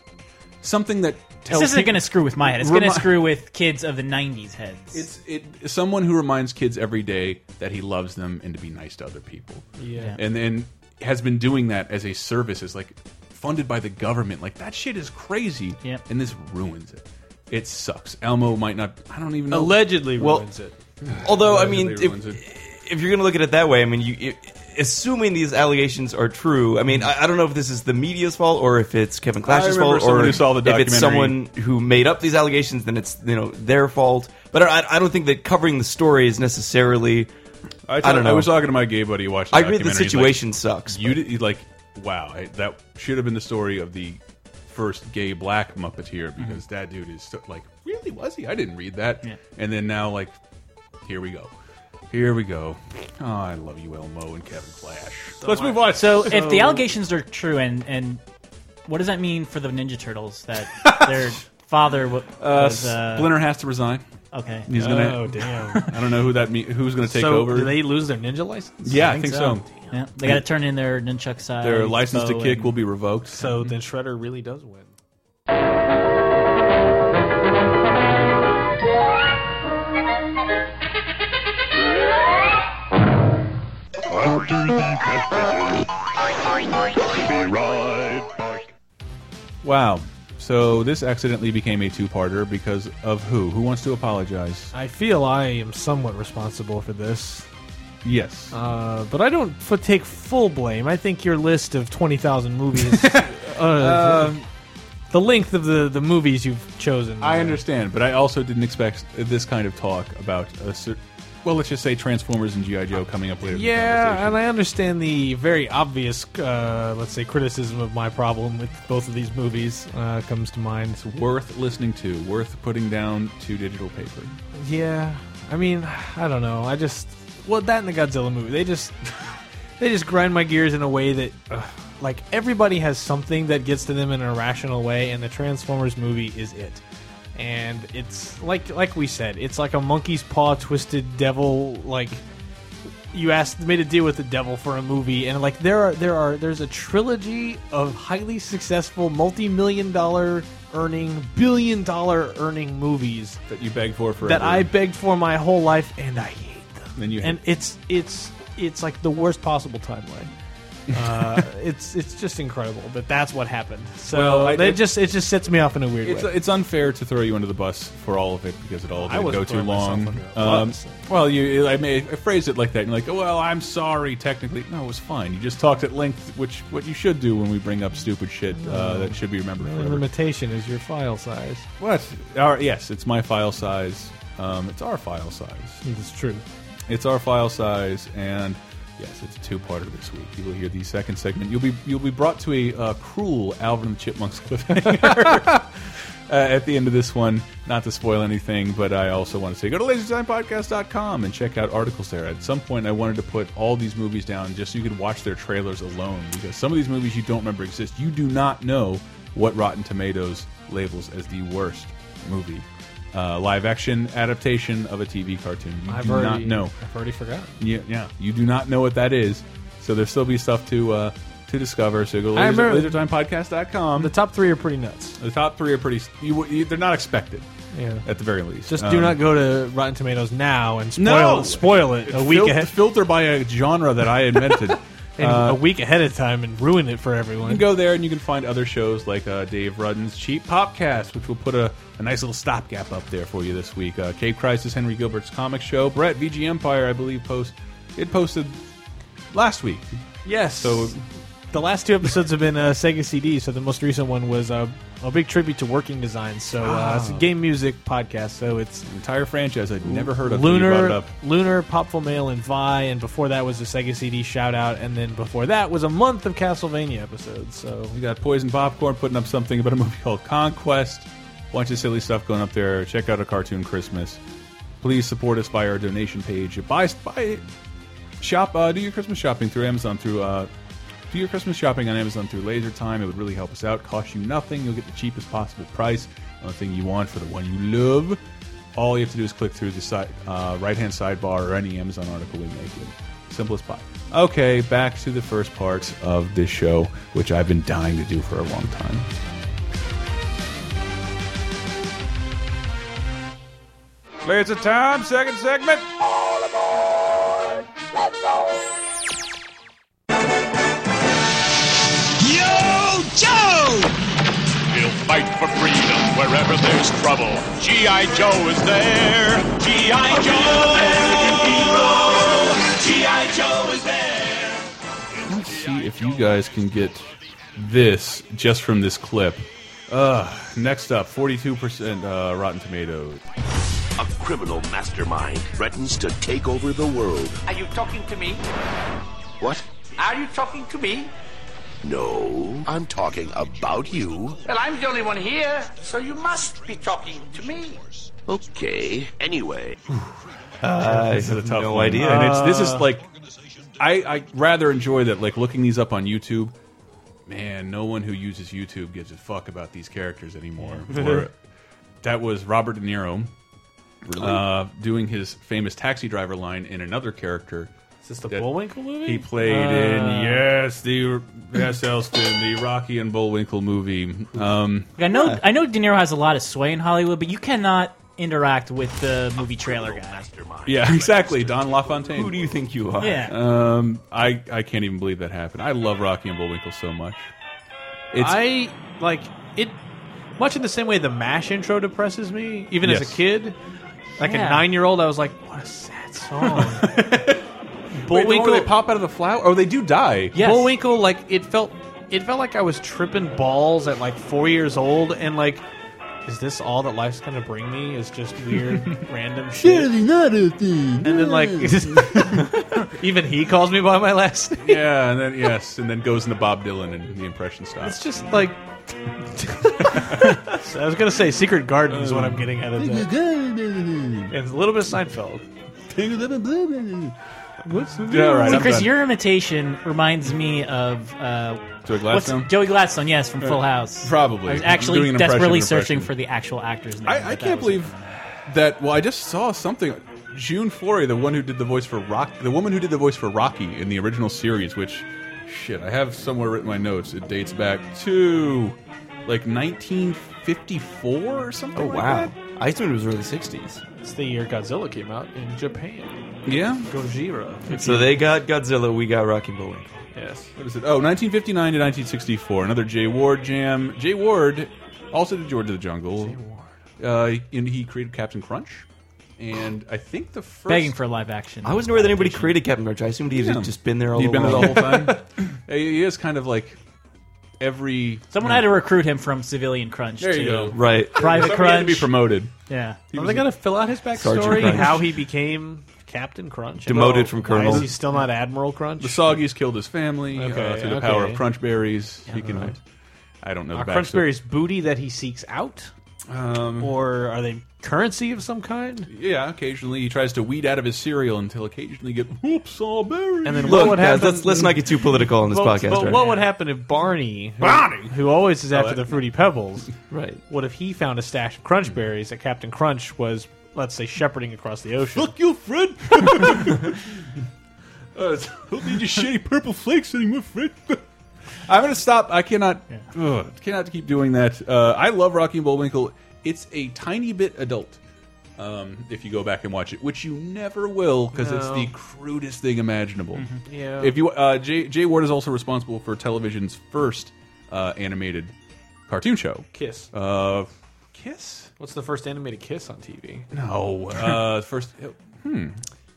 something that tells
This isn't
people-
going to screw with my head. It's going to
Remi-
screw with kids of the '90s heads.
It's it someone who reminds kids every day that he loves them and to be nice to other people.
Yeah.
And then has been doing that as a service is like funded by the government. Like that shit is crazy.
Yep.
And this ruins it. It sucks. Elmo might not I don't even know.
Allegedly
Well-
ruins it.
Although, I mean,
Allegedly
if,
ruins it.
if you're going to look at it that way, I mean, you, you, assuming these allegations are true, I mean, I, I don't know if this is the media's fault or if it's Kevin Clash's
remember
fault or
someone who saw the
if it's
documentary.
someone who made up these allegations, then it's you know their fault. But I, I don't think that covering the story is necessarily.
I,
I don't know.
I was talking to my gay buddy who watched the
I agree the
documentary, he's like,
situation sucks.
You did, like, wow, I, that should have been the story of the first gay black Muppeteer because that dude is so, like, really was he? I didn't read that.
Mm-hmm. Yeah.
And then now, like, here we go. Here we go. Oh, I love you, Elmo and Kevin Clash. Let's move on.
So, if the allegations are true, and and what does that mean for the Ninja Turtles that their father wa- was uh,
Splinter has to resign.
Okay,
He's
Oh
gonna.
damn!
I don't know who that me who's gonna take
so
over.
do they lose their ninja license?
yeah, I think, so.
yeah, they got to turn in their nunchuck size.
Their license to
bow,
kick
and-
will be revoked.
So Oh, then Shredder really does win.
wow. So this accidentally became a two-parter because of who? Who wants to apologize?
I feel I am somewhat responsible for this,
Yes.
uh, but I don't f- take full blame. I think your list of twenty thousand movies, uh, the length of the, the movies you've chosen,
I understand, but I also didn't expect this kind of talk about a cer- well, let's just say Transformers and GI Joe coming up later. in the
Yeah, and
conversation.
I understand the very obvious, uh, let's say, criticism of my problem with both of these movies uh, comes to mind.
worth listening to, worth putting down to digital paper.
Yeah, I mean, I don't know. I just well, that and the Godzilla movie, they just they just grind my gears in a way that, ugh, like, everybody has something that gets to them in an irrational way, and the Transformers movie is it. And it's like like we said, it's like a monkey's paw twisted devil like you asked made a deal with the devil for a movie and like there are there are there's a trilogy of highly successful multi-million dollar earning billion dollar earning movies
That you beg for forever.
that I begged for my whole life and I hate them
Then you hate
and
them.
it's it's it's like the worst possible timeline uh, it's it's just incredible but that's what happened so
Well, I-
it,
it-
just it just sets me off in a weird
It's,
way
it's unfair to throw you under the bus for all of it because it all did
I
go
wasn't
too
throwing myself
long.
under a
Um,
bus.
well, you, I may I phrased it like that. And you're like, oh, well, I'm sorry. Technically, no, it was fine. You just talked at length, which what you should do when we bring up stupid shit uh, that should be remembered
the
forever.
limitation is your file size
What? Our, yes, it's my file size. Um, it's our file size.
it's true
It's our file size, and yes, it's a two-parter this week. You will hear the second segment. You'll be you'll be brought to a uh, cruel Alvin and the Chipmunks cliffhanger uh, at the end of this one. Not to spoil anything, but I also want to say go to laserdesignpodcast.com and check out articles there. At some point, I wanted to put all these movies down just so you could watch their trailers alone because some of these movies you don't remember exist. You do not know what Rotten Tomatoes labels as the worst movie. Uh, live action adaptation of a TV cartoon. You
I've
do
already
not know.
I've already forgotten
Yeah, yeah. You do not know what that is, so there'll still be stuff to uh, to discover. So go to
I
laser,
remember-
lasertimepodcast.com.
the
The,
top three are pretty nuts
the top three are pretty. You, you, they're not expected,
yeah
at the very least.
Just
Um,
do not go to Rotten Tomatoes now and spoil
No!
it, spoil it a
fil-
week ahead,
filter by a genre that I invented.
and a week ahead of time and ruin it for everyone.
Uh, You can go there and you can find other shows like uh, Dave Rudden's Cheap Popcast, which will put a, a nice little stopgap up there for you this week. Uh, Cape Crisis, Henry Gilbert's comic show. Brett, VG Empire, I believe, post it posted last week.
yes.
So-
So the last two episodes have been uh, Sega CD. So the most recent one was uh, a big tribute to Working Design. So uh,
Ah.
it's a game music podcast. So it's
Entire franchise I'd never heard of. till you brought it
Lunar,
up.
Lunar, Popful Mail, and Vi. And before that was a Sega CD shout out, and then before that was a month of Castlevania episodes. So
We got Poison Popcorn putting up something about a movie called Conquest. Bunch of silly stuff going up there. Check out a cartoon Christmas. Please support us by our donation page. Buy, buy, shop, uh, do your Christmas shopping through Amazon through. Uh, do your Christmas shopping on Amazon through Laser Time. It would really help us out. Cost you nothing. You'll get the cheapest possible price on the thing you want for the one you love. All you have to do is click through the side, uh, right-hand sidebar or any Amazon article we make. It. Simple as pie. Okay, back to the first part of this show, which I've been dying to do for a long time.
It's a time, second segment.
Yo, Joe! We'll fight for freedom wherever there's trouble. G.I. Joe is there. G.I. Joe! American hero. G.I. Joe is there.
Let's see if you guys can get this just from this clip. Uh, next up, 42% uh, Rotten Tomatoes.
A criminal mastermind threatens to take over the world.
Are you talking to me?
What?
Are you talking to me?
No, I'm talking about you.
Well, I'm the only one here, so you must be talking to me.
Okay, anyway.
Uh, this is a tough no idea. And it's this
Uh.
is like I, I rather enjoy that like looking these up on YouTube. Man, no one who uses YouTube gives a fuck about these characters anymore. Or- that was Robert De Niro uh, doing his famous taxi driver line in another character.
Is this the
that
Bullwinkle movie?
He played
Uh.
in yes the yes Elston the Rocky and Bullwinkle movie. Um,
Like, I know I know De Niro has a lot of sway in Hollywood, but you cannot interact with the movie trailer guy.
yeah, exactly. Don LaFontaine.
Who do you think you are?
Yeah.
Um, I I can't even believe that happened. I love Rocky and Bullwinkle so much. It's
I like it much in the same way the Mash intro depresses me. Even
Yes.
as a kid, like
Yeah.
a nine-year-old, I was like, "What a sad song."
Wait, the one where
Bullwinkle,
they pop out of the flower. Oh, they do die.
Yes.
Bullwinkle, like it felt, it felt like I was tripping balls at like four years old, and like, is this all that life's gonna bring me? Is just weird, random shit.
not a thing.
And then like, even he calls me by my last name.
Yeah, and then yes, and then goes into Bob Dylan, and the impression stops.
It's just like. I was gonna say Secret Garden is what I'm getting out of that. and a little bit of Seinfeld.
Yeah, all right.
So,
I'm
Chris,
done.
your imitation reminds me of uh,
Joey
what's-
Gladstone? Uh,
Joey Gladstone, yes, from Full House.
probably.
I was
Doing
actually
an impression
desperately
of an
searching
impression.
for the actual actor's name.
I, I
but that
can't
was it.
believe that. Well, I just saw something. June Foray, the one who did the voice for Rock, the woman who did the voice for Rocky in the original series, which shit, I have somewhere written in my notes. It dates back to like 1954 or something.
Oh
like
wow! I assumed it was early '60s.
It's the year Godzilla came out in Japan.
that. Yeah.
Gojira.
So they got Godzilla, we got Rocky Bullwinkle.
Yes.
What is it? Oh, 1959 to 1964. Another Jay Ward jam. Jay Ward also did George of the Jungle. Jay Ward. Uh, and he created Captain Crunch. And I think the first.
begging for a live action.
I wasn't aware that anybody created Captain Crunch. I assumed he'd
Yeah.
just been there all
He'd been there
along.
the whole time. he is kind of like every.
Someone had to recruit him from Civilian Crunch.
There you
to
go.
right.
Somebody
Private
had to
Crunch.
be promoted.
yeah.
Are they gonna fill out his
Sergeant
backstory?
Crunch.
How he became Captain Crunch? and
Demoted from Colonel.
Why is he still not Admiral Crunch?
The Soggies killed his family uh,
Okay,
through the power
okay.
of Crunch Berries. he can. I don't know
Are
the
Crunch
backstory.
berries booty that he seeks out,
Um,
or are they currency of some kind?
yeah, occasionally he tries to weed out of his cereal until occasionally get whoops all berries.
And then
Look,
what would
guys,
happen?
let's let's not get too political on this
but,
podcast.
but
right? Oh,
what would happen if Barney, who, Barney, who always is after the fruity pebbles,
right?
what if he found a stash of Crunch berries that Captain Crunch was, let's say, shepherding across the ocean?
Fuck you, Fred. uh, don't need your shitty purple flakes anymore, Fred. I'm gonna stop. I cannot, ugh, cannot keep doing that. Uh, I love Rocky and Bullwinkle. It's a tiny bit adult. Um, if you go back and watch it, which you never will, because it's
No. Mm-hmm.
the crudest thing imaginable.
Yeah.
If you, uh, Jay, Jay Ward is also responsible for television's first uh, animated cartoon show,
Kiss.
uh, Kiss.
What's the first animated kiss on TV?
No, uh, first.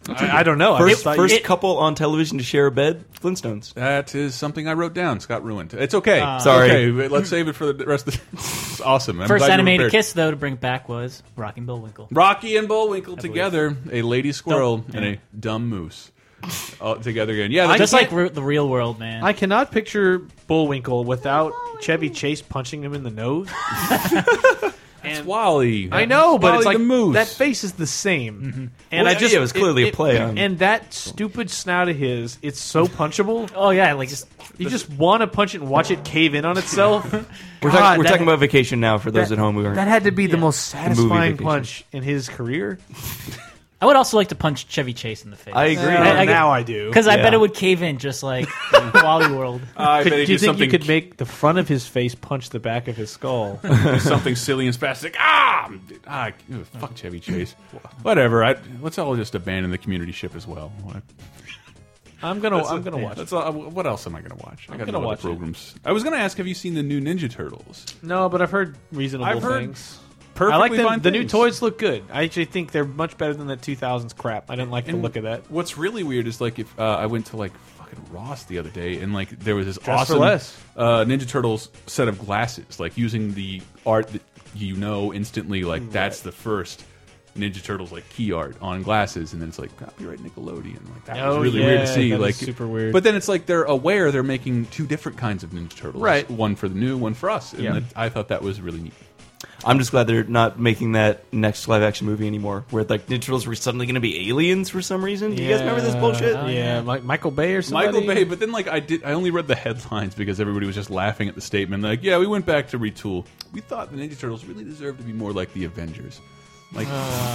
I, I don't know. I
First,
just thought you-
first couple on television to share a bed, Flintstones.
That is something I wrote down. Scott ruined. It's okay.
Ah.
Sorry.
Okay, but let's save it for the rest of the. it's awesome. I'm
First
glad you
animated
prepared.
kiss, though, to bring back was Rockin' Bullwinkle.
Rocky and Bullwinkle together, a lady squirrel and a dumb moose, all together again. Yeah, that's
Just
like
like re- the real world, man.
I cannot picture Bullwinkle without Chevy Chase punching him in the nose.
it's Wally.
I know, but
Wally
it's like
the moose.
that face is the same. And
Well,
I just
yeah, it was clearly a play on-
And that stupid snout of his, it's so punchable.
oh yeah, like just
You just want to punch it and watch it cave in on itself.
We're,
God,
talking, we're
that-
talking about vacation now for those at home who aren't.
That had to be the most
movie
satisfying
vacation.
punch in his career.
I would also like to punch Chevy Chase in the face.
I agree. Well, now I do.
because I bet
Yeah.
it would cave in just like Wally World.
Ah, I
could,
bet he
do you
did
think
something-
you could make the front of his face punch the back of his skull?
Do something silly and spastic. Ah, ah ew, fuck Chevy Chase. Whatever. I, let's all just abandon the community ship as well. What-
I'm gonna.
That's
Oh, I'm
what-
gonna watch.
that's all- what else am I gonna watch? I
I'm
got
gonna
no other
watch it.
programs. I was gonna ask, have you seen the new Ninja Turtles?
No, but I've heard reasonable
I've heard
things.
perfectly
I like them.
fine
the new
things.
toys look good. I actually think they're much better than that 2000s crap. I didn't like the
And
look of that.
What's really weird is like if uh, I went to like fucking Ross the other day and like there was this
for
awesome
less.
Uh, Ninja Turtles set of glasses, like using the art that you know instantly.
Mm.
Like that's the first Ninja Turtles like key art on glasses, and then it's like copyright Nickelodeon. Like that was
Oh,
really
yeah,
weird to see.
that is
like
super weird.
But then it's like they're aware they're making two different kinds of Ninja Turtles,
Right.
One for the new, one for us. And
Yeah.
that- I thought that was really neat.
I'm just glad they're not making that next live action movie anymore, where like Ninja Turtles were suddenly going to be aliens for some reason. Do you guys remember this bullshit?
Yeah, Mi- Michael Bay or something.
Michael Bay, but then like I did, I only read the headlines because everybody was just laughing at the statement. Like, yeah, we went back to retool. We thought the Ninja Turtles really deserved to be more like the Avengers. Like,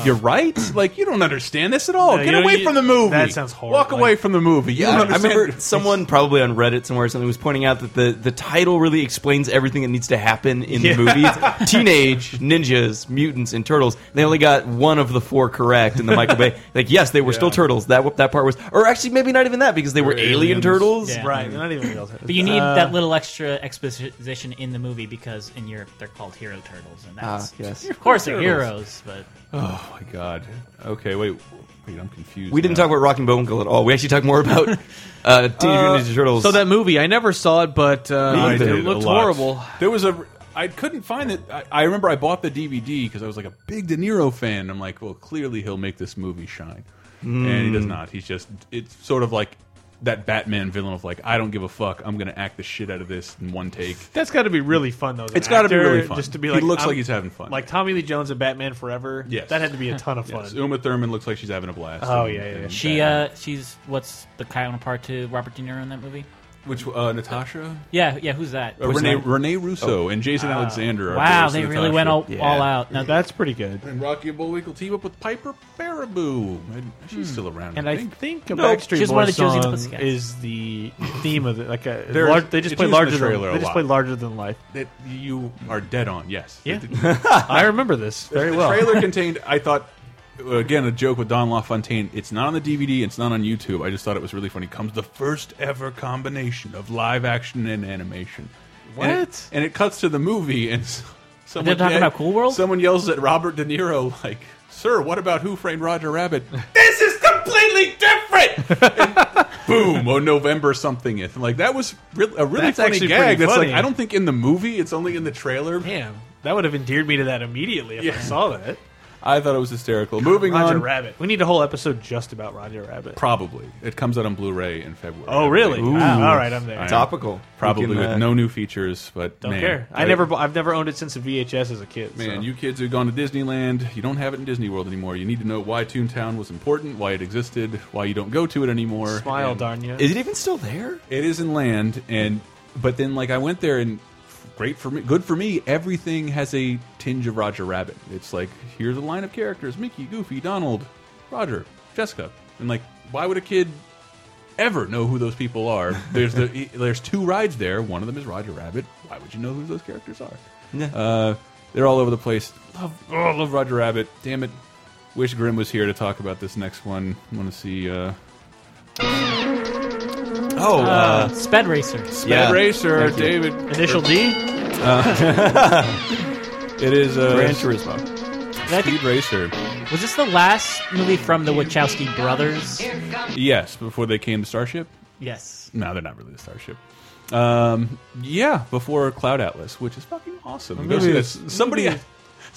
you're right. Like, you don't understand this at all.
Uh. No,
Get
you know,
away
you-
from the movie.
that sounds horrible.
Walk away from the movie. You
Yeah,
don't
I- I
understand.
remember someone probably on Reddit somewhere or something was pointing out that the, the title really explains everything that needs to happen in
Yeah.
the movies: teenage ninjas, mutants, and turtles. They only got one of the four correct in the Michael Bay. Like, yes, they were still turtles. That that part was, or actually, maybe not even that because they were alien turtles.
Yeah.
Right, they're not even real turtles.
But you need
Uh,
that little extra exposition in the movie because in Europe they're called hero turtles, and that's
yes.
of course they're
Ah, Turtles.
heroes, but
Oh my god. Okay, wait, wait. I'm confused.
We didn't talk about Rocky Bullwinkle at all. We actually talked more about uh, Teenage Mutant Ninja Turtles.
So that movie, I never saw it, but uh,
I
it
did a
looked
lot.
horrible.
There was a. I couldn't find it. I, I remember I bought the DVD because I was like a big De Niro fan. I'm like, well, clearly he'll make this movie shine, and he does
Mm.
not. He's just. It's sort of like that Batman villain of like, I don't give a fuck. I'm gonna act the shit out of this in one take.
That's got to be really fun, though. as an
It's gotta be
actor,
really fun.
Just to be
He
like,
looks
I'm-
like he's having fun.
Like Tommy Lee Jones and Batman Forever.
Yes,
that had to be a ton of fun.
Yes. Uma Thurman looks like she's having a blast.
Oh,
And-
yeah, yeah, yeah.
and
she
Batman.
uh, she's what's the counterpart to Robert De Niro in that movie?
Which uh, Natasha?
Yeah, yeah. Who's that?
Uh, Renee, Renee Russo and Jason
Wow.
Alexander. Are
Wow,
both
they
Natasha.
really went all,
Yeah.
all out. Now
that's pretty good.
And Rocky Bullwinkle team up with Piper Baraboo. And she's still around.
And I think a
No,
Backstreet
she's
Boys
one of the Josie and
song
the Pussycats.
is the theme of it. Like a
There's-
lar- they just
it's used in
play
the
larger than
trailer a
they just
lot.
play larger than life.
that you are dead on. Yes.
Yeah.
The-
I remember this very
the
well.
trailer contained. I thought uh, again a joke with Don LaFontaine. It's not on the DVD. It's not on YouTube. I just thought it was really funny. Comes the first ever combination of live action and animation. And it-
What?
And it, cuts to the movie and. s- Someone
talking
ye-
about Cool World?
Someone yells at Robert De Niro like, "Sir, what about Who Framed Roger Rabbit?"
this is completely different.
Boom! Oh, November something. If like that was re a really
That's
funny
actually
gag.
pretty
That's
funny.
like I don't think in the movie. It's only in the trailer.
Damn, that would have endeared me to that immediately if I
Yeah.
saw that.
I thought it was hysterical. Moving
Roger
on,
Rabbit. We need a whole episode just about Roger Rabbit.
Probably. It comes out on Blu-ray in February. I
Oh, really?
believe.
Wow. Ooh. All right, I'm there.
I am.
Topical.
Probably
We can,
with
uh,
no new features, but
Don't
man,
care. I, never. bu- I've never owned it since a VHS as a kid.
Man,
so.
you kids who've gone to Disneyland, you don't have it in Disney World anymore. You need to know why Toontown was important, why it existed, why you don't go to it anymore.
Smile,
and-
darn ya.
Is it even still there?
It is in land, and but then like I went there and great for me, good for me. Everything has a tinge of Roger Rabbit. It's like here's a line of characters: Mickey, Goofy, Donald, Roger, Jessica, and like why would a kid ever know who those people are? There's the e, there's two rides there. One of them is Roger Rabbit. Why would you know who those characters are?
Yeah.
Uh, they're all over the place. Love, oh, I love Roger Rabbit. Damn it. Wish Grimm was here to talk about this next one. want to see. Uh,
Oh, uh,
Sped Racer.
Sped
Yeah.
Racer,
Thank you.
David.
Initial D?
Uh, it is uh,
Gran Turismo.
Speed Racer.
Was this the last movie from the Wachowski brothers?
Yes, before they came to Starship.
Yes.
No, they're not really the Starship. Um, yeah, before Cloud Atlas, which is fucking awesome. Go see this. Somebody,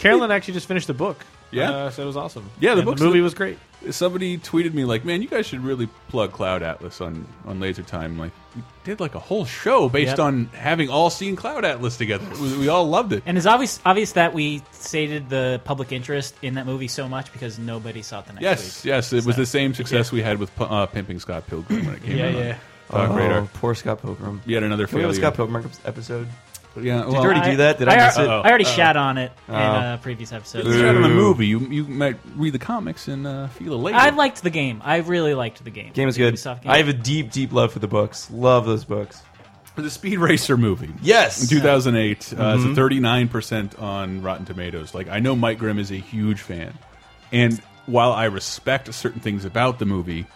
Carolyn actually just finished the book.
Yeah.
uh, so it was awesome.
yeah, the,
And
book's-
movie was great.
Somebody tweeted me like, "Man, you guys should really plug Cloud Atlas on on Laser Time." Like, we did like a whole show based
Yep.
on having all seen Cloud Atlas together. It was- we all loved it.
And it's obvious obvious that we stated the public interest in that movie so much because nobody saw it the next
Yes,
week.
yes, it was the same success we had with Pu- uh, pimping Scott Pilgrim when it came
Yeah,
out. on
yeah.
Talk
oh,
Radar.
poor Scott Pilgrim.
Yet another
Can we have a
failure.
Scott Pilgrim episode.
Yeah,
Did
well-
you already do that? Did I,
I-
miss it?
I already shat on it in,
Oh.
uh, previous episodes.
It's not in the movie. You you might read the comics and uh, feel it later.
I liked the game. I really liked the game.
Game is good.
Ubisoft game.
I have a deep, deep love for the books. Love those books.
The Speed Racer movie.
Yes.
In 2008. Uh, it's a
Mm-hmm.
Mhm.
39% on Rotten Tomatoes. Like, I know Mike Grimm is a huge fan. And while I respect certain things about the movie,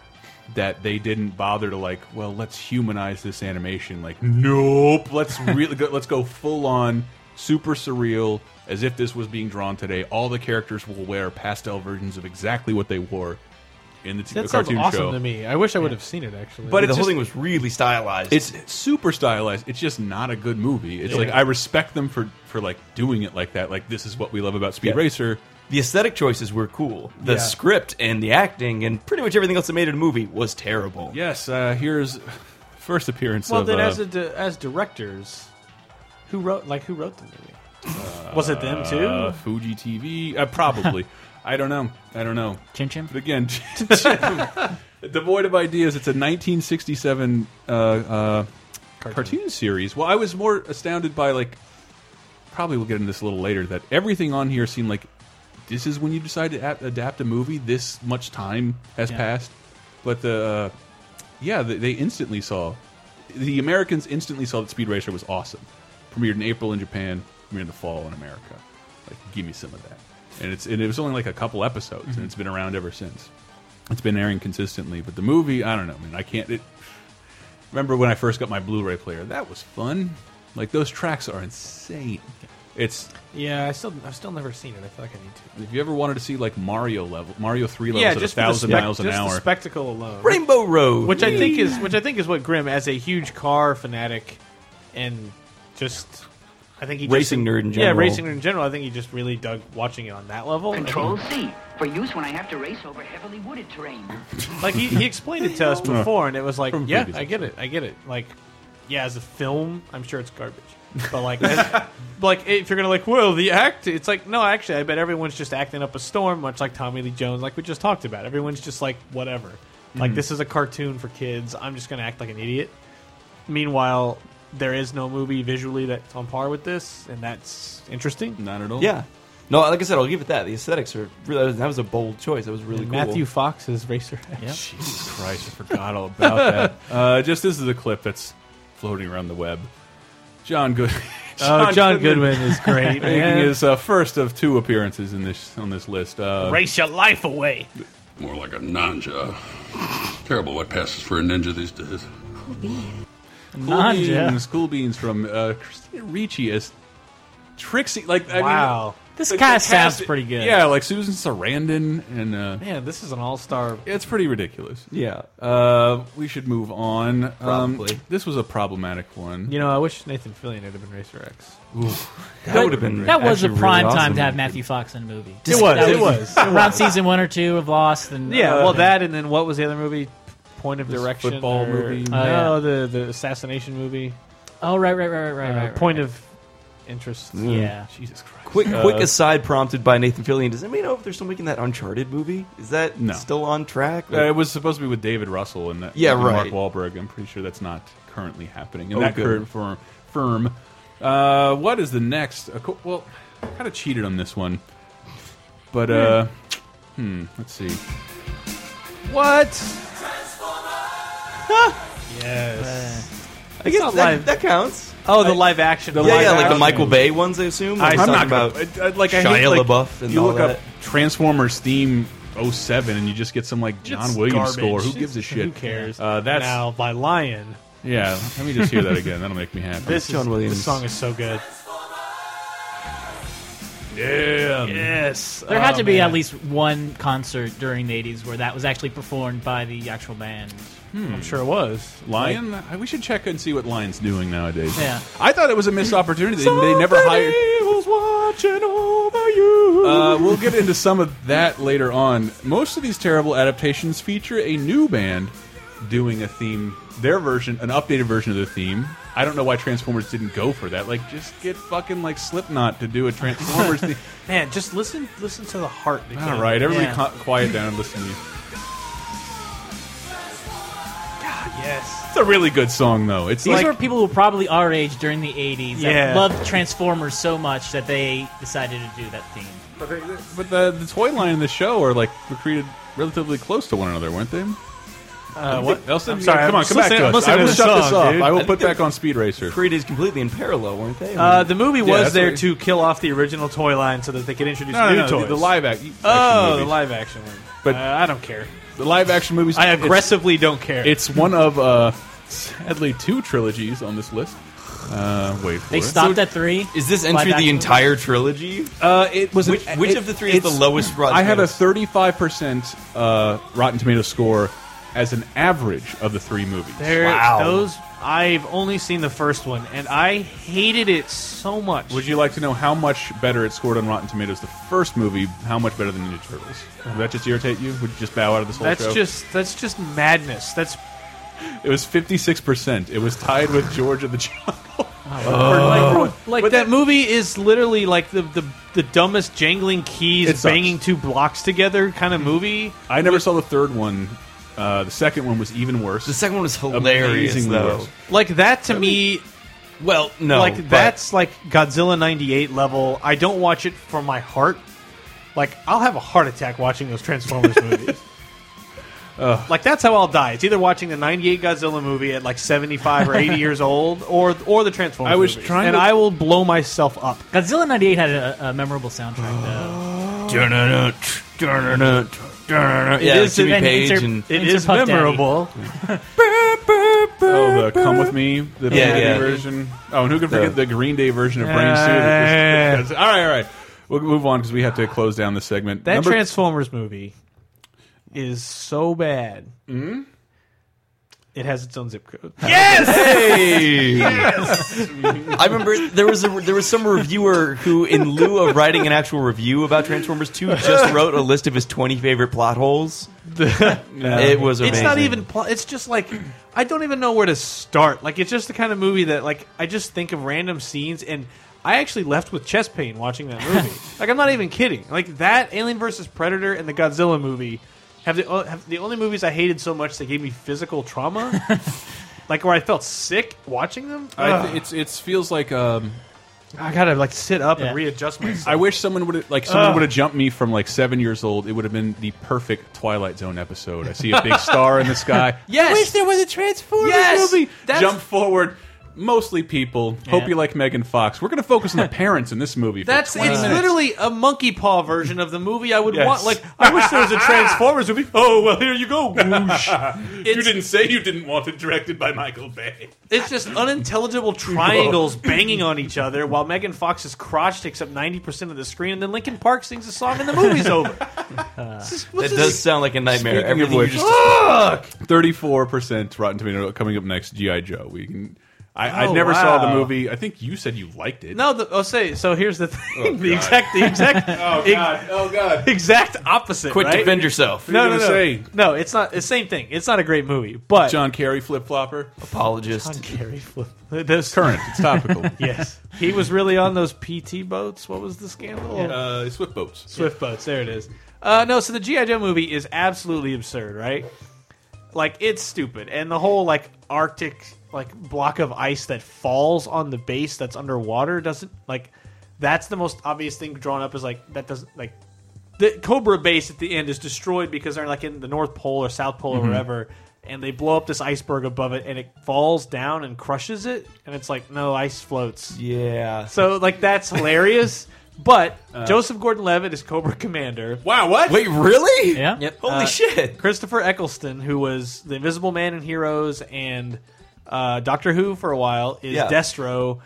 that they didn't bother to like, well, let's humanize this animation. Like, nope, let's really go, let's go full on super surreal, as if this was being drawn today. All the characters will wear pastel versions of exactly what they wore in the t-
That sounds
cartoon
awesome
show.
to me. I wish I would have seen it actually.
But it's just-
really stylized.
It's super stylized. It's just not a good movie. It's
Yeah.
like I respect them for for like doing it like that. Like this is what we love about Speed
Yeah.
Racer.
The aesthetic choices were cool. The
Yeah.
script and the acting and pretty much everything else that made it a movie was terrible.
Yes, uh, here's first appearance
well,
of
then
uh,
as a di- as directors, who wrote like who wrote the movie? Was it them too?
uh, Fuji TV. Uh, probably. I don't know. I don't know.
Chin Chin.
But again, Chin Chin. devoid of ideas. It's a 1967 uh, uh, cartoon. series. Well, I was more astounded by like. Probably we'll get into this a little later. That everything on here seemed like this is when you decide to ap- adapt a movie. This much time has
Yeah.
passed, but the uh, yeah they, they instantly saw the Americans instantly saw that Speed Racer was awesome. Premiered in April in Japan, premiered in the fall in America. Like, give me some of that. And it's and it was only like a couple episodes, and
Mhm.
it's been around ever since. It's been airing consistently, but the movie, I don't know, man. I can't. It, remember when I first got my Blu-ray player? That was fun. Like those tracks are insane. It's
Yeah, I still I've still never seen it. I feel like I need to.
if you ever wanted to see like Mario level, Mario three levels
yeah,
at a
just for the
thousand
spec-
miles an
just the
hour.
spectacle alone.
Rainbow Road,
which I think is which I think is what Grimm, as a huge car fanatic, and just I think he just-
Racing nerd in general.
Yeah, racing nerd in general. I think he just really dug watching it on that level.
Control
And-
C for use when I have to race over heavily wooded terrain.
Like he, he explained it to us
Yeah.
before, and it was like,
From
yeah,
previous
I get it, I get it. Like, yeah, as a film, I'm sure it's garbage, but like, as- like if you're gonna like, well, the act, it's like, no, actually, I bet everyone's just acting up a storm, much like Tommy Lee Jones, like we just talked about. Everyone's just like, whatever. Like
Mhm.
this is a cartoon for kids. I'm just gonna act like an idiot. Meanwhile, there is no movie visually that's on par with this, and that's interesting.
Not at all.
Yeah. No, like I said, I'll give it that. The aesthetics are really, that was- that was a bold choice. That was really
And
cool.
Matthew Fox is Racer X.
Jesus Christ, I forgot all about that. Uh, just this is a clip that's floating around the web. John Good.
Oh, John Goodwin is great,
Making
man.
his uh, first of two appearances in this on this list. Uh,
Race your life away.
More like a ninja. Terrible what passes for a ninja these days.
Cool
Nanja.
Beans, Cool Beans from uh, Christina Ricci as Trixie. Like, I
Wow.
mean,
This
like, the
cast sounds pretty good.
Yeah, like Susan Sarandon and uh,
Man, this is an all-star.
It's pretty ridiculous. Yeah, uh, we should move on. Um,
Probably.
this was a problematic one.
You know, I wish Nathan Fillion had been Racer X.
But That was a prime time to have Matthew Fox in a movie.
It was.
That
It was. It
around
was.
season one or two of Lost. And
Yeah,
uh,
well, that and then what was the other movie? Point of
This
Direction,
football
or- uh,
movie.
No,
Oh, yeah.
the the assassination movie.
Oh right, right, right, right, right,
Uh,
right, right.
Point of interest.
Mm.
Jesus Christ.
Quick,
Uh,
quick aside prompted by Nathan Fillion. Does anybody know if they're still making that Uncharted movie? Is that
No.
still on track?
Uh, it was supposed to be with David Russell and that,
Yeah,
and
right.
Mark Wahlberg. I'm pretty sure that's not currently happening in
Oh,
that
good.
current firm. firm. Uh, what is the next? A co- Well, I kind of cheated on this one, but uh, hmm, let's see.
What?
yes.
I guess that, that counts.
Oh, the live action.
yeah, yeah, like the Michael Bay ones, I assume.
I,
Like,
am
talking
not
about
about I, I, like I
Shia
hate, like,
LaBeouf and
you
all
look
that.
up Transformers theme 07 and you just get some like John Williams score. Who gives a shit?
Who cares?
Uh, that's
now by Lion.
yeah. Let me just hear that again. That'll make me happy.
This John Williams. This song is so good.
Damn.
Yes.
There had
Oh,
to be
man.
at least one concert during the 80s where that was actually performed by the actual band.
I'm sure it was.
Lion. I- we should check and see what Lion's doing nowadays.
Yeah.
I thought it was a missed opportunity. They, they never hired.
watching over you.
Uh, we'll get into some of that later on. Most of these terrible adaptations feature a new band doing a theme, their version, an updated version of the theme. I don't know why Transformers didn't go for that. Like, just get fucking like Slipknot to do a Transformers theme.
Man, just listen listen to the heart. Nicola.
All right, everybody,
Yeah.
ca- quiet down and listen to me.
God, Yes.
It's a really good song, though. It's
These
like
were people who were probably our age during the 80s
Yeah.
that loved Transformers so much that they decided to do that theme.
But the, the toy line and the show are like were created relatively close to one another, weren't they?
Uh, what?
Elson,
I'm sorry,
come on,
I'm
come back
listening-
to us.
I'm listening
I
to
will
the
shut this
song,
off.
dude.
I
I
will
think
put
they-
back on Speed Racer.
Created completely in parallel, weren't they?
Uh, the movie
Yeah,
was
that's
there
what-
to kill off the original toy line so that they could introduce
No, no,
new
no, the-
toys.
the live act- action
Oh,
movies.
the live action one.
But-
But uh, I don't care.
The live action movies.
I
it's-
aggressively don't care.
It's one of uh, sadly two trilogies on this list. Uh, wait, for
They
it.
stopped at three.
Is this entry
Live
the
action.
entire trilogy?
Uh, it was.
Which, which
It-
of the three is the
it's-
lowest? Rotten
I have a
Tomatoes?
thirty-five percent uh, Rotten Tomato score as an average of the three movies.
There, those I've only seen the first one, and I hated it so much.
Would you like to know how much better it scored on Rotten Tomatoes the first movie? How much better than Ninja Turtles? Would that just irritate you? Would you just bow out of this whole
That's
show?
just that's just madness. That's
It was fifty-six percent. It was tied with George of the Jungle.
Oh,
Oh.
like, like that movie is literally like the the, the dumbest jangling keys
It sucks.
banging two blocks together kind of movie.
I never saw the third one. Uh, the second one was even worse. The
second one was hilarious, though.
Like that to me.
Well, no,
like
but-
that's like Godzilla '98 level. I don't watch it for my heart. Like I'll have a heart attack watching those Transformers movies. Like that's how I'll die. It's either watching the '98 Godzilla movie at like 75 or 80 years old, or or the Transformers.
I was
movies.
trying
and
to-
I will blow myself up.
Godzilla 98 had a, a memorable soundtrack, though.
Dun-dun-dun, dun-dun-dun, dun-dun-dun.
It
uh, Yeah,
is-
Jimmy
and
Page
insert-
and
It is
Puff Daddy.
memorable.
Oh, the Come With Me, the
Yeah,
Green
yeah.
Day version. Oh, and who can forget the
The-
Green Day version of Brain
Yeah.
Suit? all right, all right. We'll move on because we have to close down the segment.
That
Number-
Transformers movie is so bad. Mm-hmm. It has its own zip code.
Yes! I remember there was a, there was some reviewer who, in lieu of writing an actual review about Transformers Two, just wrote a list of his twenty favorite plot holes. It was amazing.
It's not even. Pl- it's just like I don't even know where to start. Like it's just the kind of movie that like I just think of random scenes and. I actually left with chest pain watching that movie. like I'm not even kidding. Like that Alien versus Predator and the Godzilla movie have the o- have the only movies I hated so much that gave me physical trauma. like where I felt sick watching them.
I
Ugh.
th it's it feels like um,
I gotta like sit up
Yeah.
and readjust myself.
I wish someone would like someone
Ugh.
would have jumped me from like seven years old. It would have been the perfect Twilight Zone episode. I see a big star in the sky.
Yes.
wish there was a Transformers
Yes.
movie.
That's-
Jump forward. Mostly people. Hope you like Megan Fox. We're going to focus on the parents in this movie. For
That's it's
20 minutes.
literally a monkey paw version of the movie I would
Yes.
want. Like I wish there was a Transformers movie. Oh well, here you go. Whoosh.
you didn't say you didn't want it directed by Michael Bay.
It's just unintelligible triangles banging on each other while Megan Fox is crotch takes up ninety percent of the screen, and then Lincoln Park sings a song, and the movie's over.
That does sound like a nightmare.
Speaking of
Everything you
which,
just
thirty-four percent Rotten Tomato coming up next. GI Joe. We can. I, I
Oh,
never saw the
wow.
movie. I think you said you liked it.
No, the, I'll say. So here's the thing:
Oh,
the
God.
exact, the exact,
Oh, God. Oh, God.
exact opposite.
Quick,
right?
defend yourself.
No,
What are
no,
you
no,
gonna say?
no. It's not the same thing. It's not a great movie, but
John Kerry flip flopper.
apologist.
John Kerry flip. Those
Current. It's topical.
yes, he was really on those PT boats. What was the scandal?
Uh, Swift boats.
Swift boats. There it is. Uh, no, so the GI Joe movie is absolutely absurd, right? Like it's stupid, and the whole like Arctic like block of ice that falls on the base that's underwater doesn't like. That's the most obvious thing drawn up is like that doesn't like the Cobra base at the end is destroyed because they're like in the North Pole or South Pole
Mhm.
or wherever, and they blow up this iceberg above it, and it falls down and crushes it, and it's like no ice floats.
Yeah.
So like that's hilarious. But
Uh.
Joseph Gordon-Levitt is Cobra Commander.
Wow, what?
Wait, really?
Yeah.
Yep.
Holy
Uh,
shit.
Christopher Eccleston, who was the Invisible Man in Heroes and uh, Doctor Who for a while, is
Yeah.
Destro,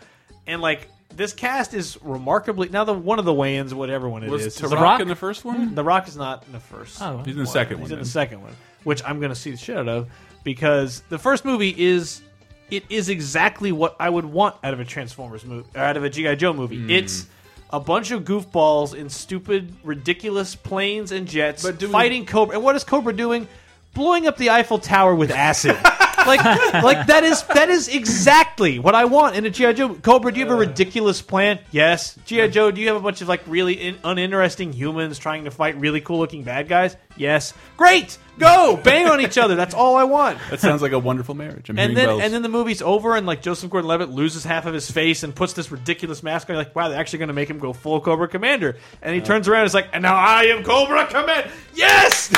and like this cast is remarkably now the one of the Wayans, whatever one it is.
Was
is
The
The
Rock
Rock
in the first one?
The Rock is not in the first.
Oh. He's in the second
He's
one,
in
then.
the second one, which I'm going to see the shit out of because the first movie is it is exactly what I would want out of a Transformers movie or out of a GI Joe movie.
Hmm.
It's a bunch of goofballs in stupid, ridiculous planes and jets
But do we-
fighting Cobra. And what is Cobra doing? Blowing up the Eiffel Tower with acid. like, like that is that is exactly what I want in a GI Joe. Cobra, do you have a ridiculous plan? Yes. GI Joe, do you have a bunch of like really in, uninteresting humans trying to fight really cool looking bad guys? Yes. Great. Go bang on each other. That's all I want.
That sounds like a wonderful marriage. I'm
and
hearing
then
bells.
and then the movie's over, and like Joseph Gordon-Levitt loses half of his face and puts this ridiculous mask on. You're like, wow, they're actually going to make him go full Cobra Commander. And he turns around, and is like, and now I am Cobra Commander. Yes,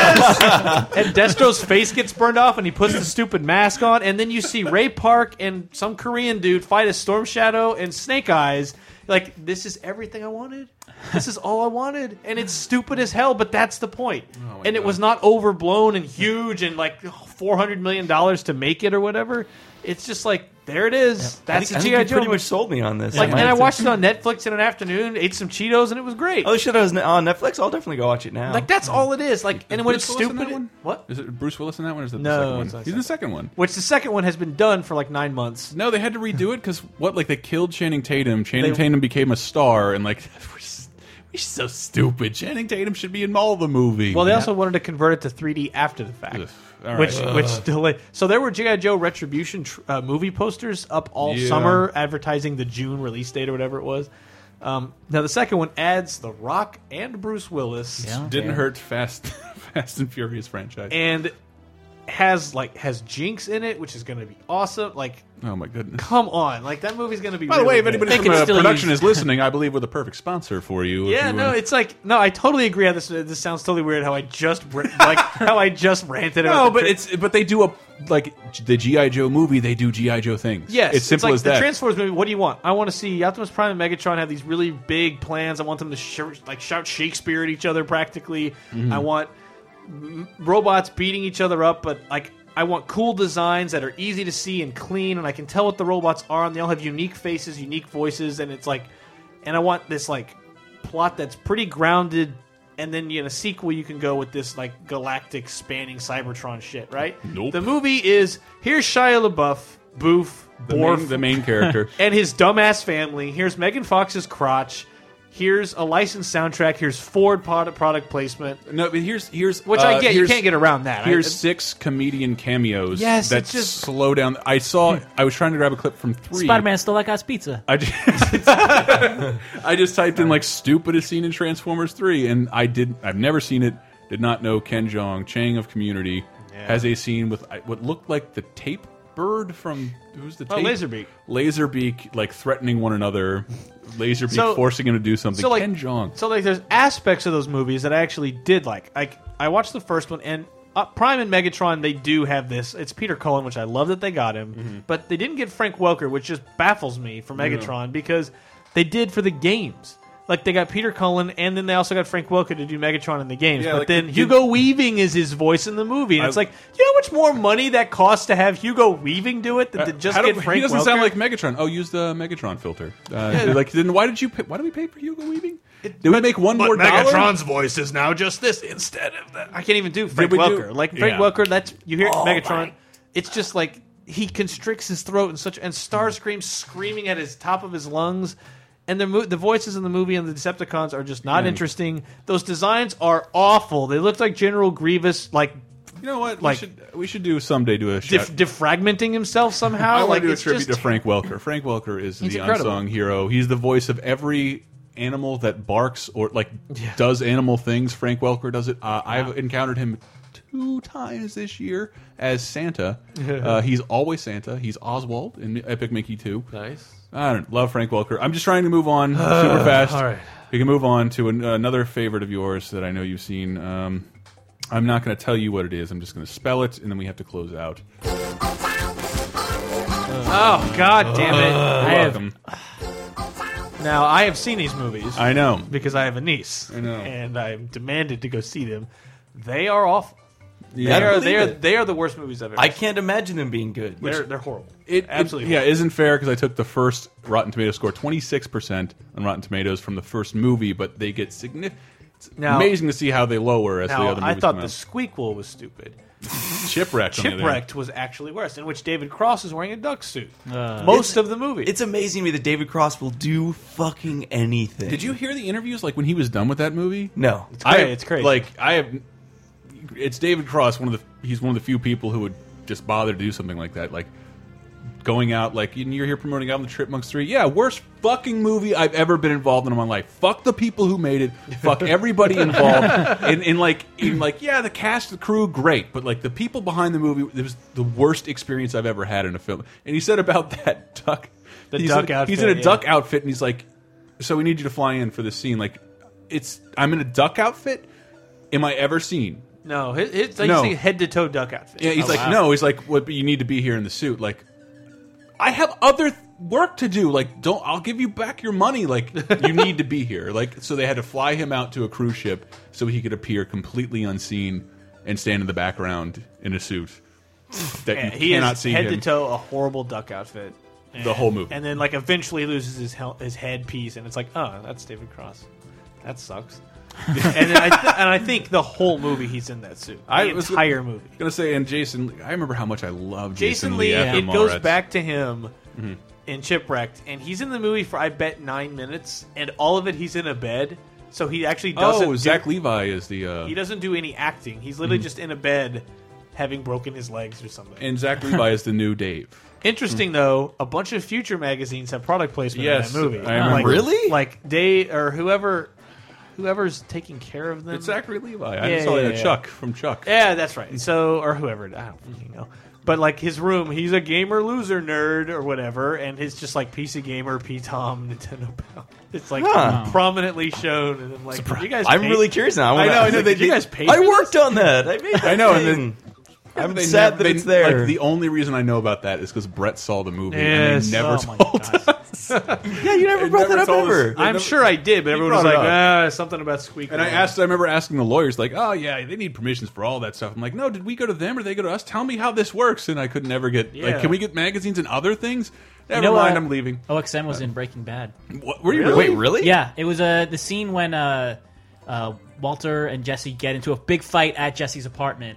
yes. and Destro's face gets burned off, and he puts the stupid mask on. And then you see Ray Park and some Korean dude fight a Storm Shadow and Snake Eyes. Like this is everything I wanted. This is all I wanted, and it's stupid as hell. But that's the point.
Oh my
and it was not overblown and huge and like four hundred million dollars to make it or whatever. It's just like there it is. That's
I
a
think
GI
you
Joe.
pretty much sold me on this.
Like,
Yeah.
and I watched it on Netflix in an afternoon, ate some Cheetos, and it was great.
Oh shit! I was on Netflix. I'll definitely go watch it now.
Like that's all it is. Like, and when
Bruce
it's
Willis in
stupid,
that one?
what?
Is it Bruce Willis in that one? Or is it
No,
the second one?
it's not
He's in the second one.
Which the second one has been done for like nine months.
No, they had to redo it because what? Like they killed Channing Tatum. Channing
They-
Tatum became a star, and like we're, s- we're so stupid. Channing Tatum should be in all the movies.
Well, they also wanted to convert it to 3D after the fact,
all
which
right.
which
Ugh.
delay. So there were GI Joe Retribution tr- uh, movie posters up all
Yeah.
summer, advertising the June release date or whatever it was. Um, now the second one adds The Rock and Bruce Willis.
didn't hurt Fast Fast and Furious franchise.
and has like has Jinx in it, which is going to be awesome. Like,
oh my goodness!
come on, like that movie's going to be.
By the
really
way, if
good.
anybody from uh, production is listening, I believe we're the perfect sponsor for you. uh, if
Yeah,
you
no,
wanna-
it's like no. I totally agree. On this this sounds totally weird. How I just ra- like how I just ranted. about
no,
the
but
tra-
it's but they do a like the GI Joe movie. They do GI Joe things.
Yes,
it's simple
like
as
the
that.
Transformers movie. What do you want? I want to see Optimus Prime and Megatron have these really big plans. I want them to sh- like shout Shakespeare at each other practically.
Mhm.
I want m- robots beating each other up, but like I want cool designs that are easy to see and clean, and I can tell what the robots are, and they all have unique faces, unique voices, and it's like, and I want this like plot that's pretty grounded. And then in a sequel, you can go with this like galactic spanning Cybertron shit, right?
Nope.
The movie is here's Shia LaBeouf, Boof,
the,
Borf,
main, the main character.
and his dumbass family. Here's Megan Fox's crotch. Here's a licensed soundtrack. Here's Ford product product placement.
No, but here's here's
which
uh,
I get. You
here's-
can't get around that. I-
Here's six comedian cameos.
Yes,
that
it's just-
slow down. I saw. I was trying to grab a clip from three.
Spider Man still like us pizza.
I just, I just typed in like stupidest scene in Transformers three, and I did. I've never seen it. Did not know Ken Jeong Chang of Community has a scene with I- what looked like the tape bird from who's the
Oh,
tape?
Laserbeak.
Laserbeak like threatening one another. Laserbeak
So-
forcing him to do something.
so like
Ken Jeong.
so like there's aspects of those movies that I actually did like. Like I watched the first one and. Uh, Prime and Megatron, they do have this. It's Peter Cullen, which I love that they got him, but they didn't get Frank Welker, which just baffles me for
Mm-hmm. Yeah.
Megatron because they did for the games. Like they got Peter Cullen, and then they also got Frank Welker to do Megatron in the games.
Yeah,
but
like,
then
did-
Hugo Weaving is his voice in the movie, and
I-
it's like, you know how much more money that costs to have Hugo Weaving do it than to just
How do-
get Frank
he doesn't
Welker?
sound like Megatron. Oh, use the Megatron filter. Uh,
Yeah.
Like, then why did you? Pay, why do we pay for Hugo Weaving? Did we make one
but
more dollar?
Megatron's voice is now just this instead of that. I can't even do Frank
we do-
Welker. like
Yeah.
Frank Welker, that's you hear
Oh
Megatron.
my-
It's just like he constricts his throat and such, and Starscream screaming at his top of his lungs. And the mo- the voices in the movie and the Decepticons are just not
Yeah.
interesting. Those designs are awful. They look like General Grievous, like
You know what?
Like-
we should we should do someday do a shout.
def- defragmenting himself somehow.
I want
like
to do a
it's
tribute
just
to Frank Welker. Frank Welker is the
He's incredible.
unsung hero. He's the voice of every animal that barks or like does animal things. Frank Welker does it. Uh, I've encountered him two times this year as Santa. uh, he's always Santa. He's Oswald in Epic Mickey Two.
Nice.
I don't love Frank Welker. I'm just trying to move
Uh,
on super fast.
All right.
We can move on to an, another favorite of yours that I know you've seen. Um, I'm not going to tell you what it is. I'm just going to spell it, and then we have to close out.
Oh God, damn it! I
You're
have-
welcome.
now I have seen these movies.
I know.
because I have a niece. I know, and I'm demanded to go see them. They are awful.
Yeah.
they
I
are.
believe
They are.
it.
They are the worst movies I've ever.
I
seen.
can't imagine them being good.
They're they're horrible.
It,
absolutely.
it- yeah, isn't fair because I took the first Rotten Tomatoes score, twenty six percent on Rotten Tomatoes from the first movie, but they get significant. It's
Now-
amazing to see how they lower as
now,
the other
I
movies
thought
come
the
out.
squeakquel was stupid.
Chipwrecked. on the other hand.
Chipwrecked was actually worse, in which David Cross is wearing a duck suit.
Most
Most of the movie.
It's amazing to me that David Cross will do fucking anything.
Did you hear the interviews like when he was done with that movie?
No. It's
cra-
I-
it's crazy.
Like I have, it's David Cross. One of the he's one of the few people who would just bother to do something like that. Like going out like and you're here promoting Alvin and the Chipmunks three. Yeah, worst fucking movie I've ever been involved in in my life. Fuck the people who made it. Fuck everybody involved. and, and like in like yeah, the cast, the crew, great, but like the people behind the movie, it was the worst experience I've ever had in a film. And he said about that duck.
The
he's
duck
in,
outfit,
He's in a
yeah.
duck outfit, and he's like, "So we need you to fly in for this scene." Like, it's I'm in a duck outfit. Am I ever seen?
No, his, his, like
No.
you see head to toe duck outfit.
Yeah, he's
Oh,
like,
wow.
no, he's like, what? but you need to be here in the suit. Like, I have other th work to do. Like, don't. I'll give you back your money. Like, you need to be here. Like, so they had to fly him out to a cruise ship so he could appear completely unseen and stand in the background in a suit that
Yeah,
you
he
cannot
is
see
head
him.
to toe a horrible duck outfit.
The whole movie.
and then like eventually he loses his hel- his headpiece, and it's like, oh, that's David Cross. That sucks. and then I th- and I think the whole movie he's in that suit. The entire movie.
Gonna say, and Jason, Lee- I remember how much I loved Jason,
Jason, Lee,
after
it goes
Mallrats.
back to him
Mhm.
in Chipwrecked, and he's in the movie for I bet nine minutes, and all of it he's in a bed, so he actually doesn't.
Oh,
do-
Zach Levi is the. Uh,
He doesn't do any acting. He's literally
Mhm.
just in a bed, having broken his legs or something.
and Zach Levi is the new Dave.
Interesting though, a bunch of future magazines have product placement
Yes,
in that movie.
I remember.
Like-
Really?
Like they or whoever, whoever's taking care of them.
It's Zachary Levi. I saw that Chuck from Chuck.
Yeah, that's right. So or whoever, I don't fucking know. But like his room, he's a gamer loser nerd or whatever, and his just like PC gamer, P Tom, Nintendo pal. It's like
Huh.
prominently shown, and I'm like, you guys.
I'm
paid-
really curious now.
I
wanna-
know, I know.
like,
They,
did
you guys paid.
I
for
worked
this?
on that. I made. That
I know, and
Thing.
then-
I'm
They
sad
nev-
that
they-
it's there.
Like, the only reason I know about that is because Brett saw the movie and
Yes.
they never
Oh my
told us.
yeah, you never brought that up
told us.
ever.
They
I'm
never-
sure I did, but
He
everyone was
brought
like,
it up.
ah, something about squeak.
And I
wheel."
asked, I remember asking the lawyers, like, "Oh yeah, they need permissions for all that stuff." I'm like, "No, did we go to them or they go to us? Tell me how this works." And I could never get
Yeah.
like, "Can we get magazines and other things?"
You
Never
know,
mind,
uh,
I'm leaving.
OXM was in Breaking Bad.
What, were you Really? really? Wait, really?
Yeah, it was uh, the scene when uh, uh, Walter and Jesse get into a big fight at Jesse's apartment.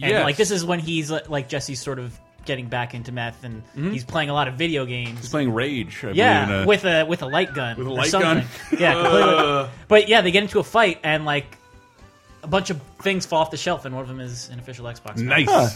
And
Yes.
like this is when he's li- like Jesse's sort of getting back into meth and
Mhm.
he's playing a lot of video games.
He's playing Rage. I uh,
yeah,
believe, in a-
with a with a light gun.
With a
or
light
something.
gun.
Yeah,
Uh.
completely. but yeah, they get into a fight and like a bunch of things fall off the shelf, and one of them is an official Xbox. match.
Huh.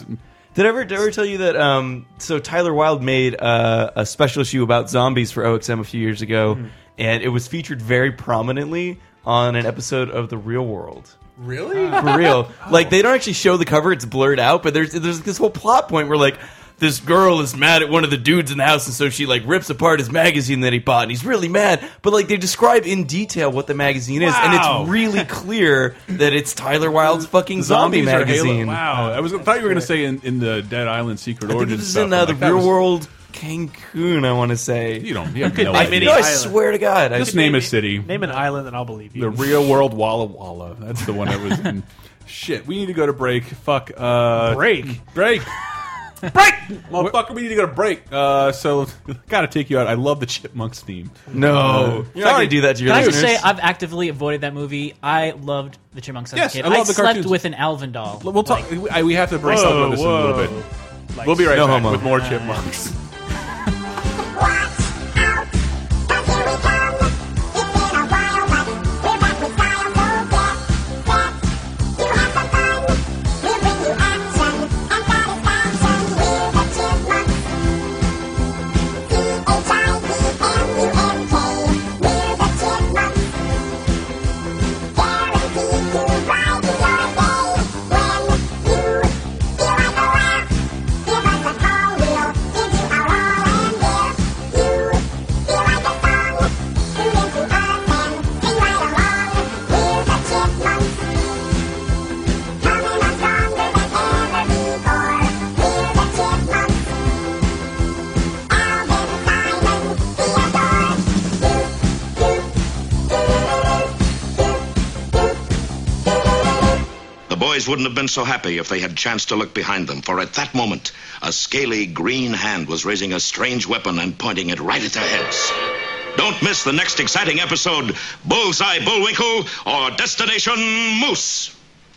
Did I ever, did I ever tell you that? Um, so Tyler Wilde made uh, a special issue about zombies for OXM a few years ago,
Hmm.
Mhm.
and it was featured very prominently on an episode of The Real World.
Really? Oh.
For real, like they don't actually show the cover; it's blurred out. But there's there's this whole plot point where like this girl is mad at one of the dudes in the house, and so she like rips apart his magazine that he bought, and he's really mad. But like they describe in detail what the magazine is,
Wow.
and it's really clear that it's Tyler Wilde's fucking zombie
Zombies are Halo.
magazine.
Wow, I was I thought you were going to say in, in the Dead Island Secret
I think
Origin
this is
stuff.
in uh,
I'm
the
like, that
real
was-
world Cancun. I want to say
You don't. You have
Could
no
name
idea.
any No, I island. swear to God, I-
Just
Could
name a
name-
city.
Name an island, and I'll believe you.
The real world Walla Walla. That's the one I was in. Shit, we need to go to break. Fuck. Uh,
Break?
Break. break! Motherfucker, we need to go to break. Uh, so, gotta take you out. I love the Chipmunks theme. Uh,
No. You're not gonna do that to your
Can I just say
listeners.
I've actively avoided that movie? I loved the Chipmunks as
Yes,
a kid.
I love the
slept
cartoons.
with an Alvin doll.
We'll talk. I, we have to break
Oh,
Whoa,
up on this in a little
whoa.
bit.
Like-
we'll be right
No
back
homo.
with more
Uh,
Chipmunks.
The boys wouldn't have been so happy if they had chanced to look behind them, for at that moment, a scaly green hand was raising a strange weapon and pointing it right at their heads. Don't miss the next exciting episode Bullseye Bullwinkle or Destination Moose.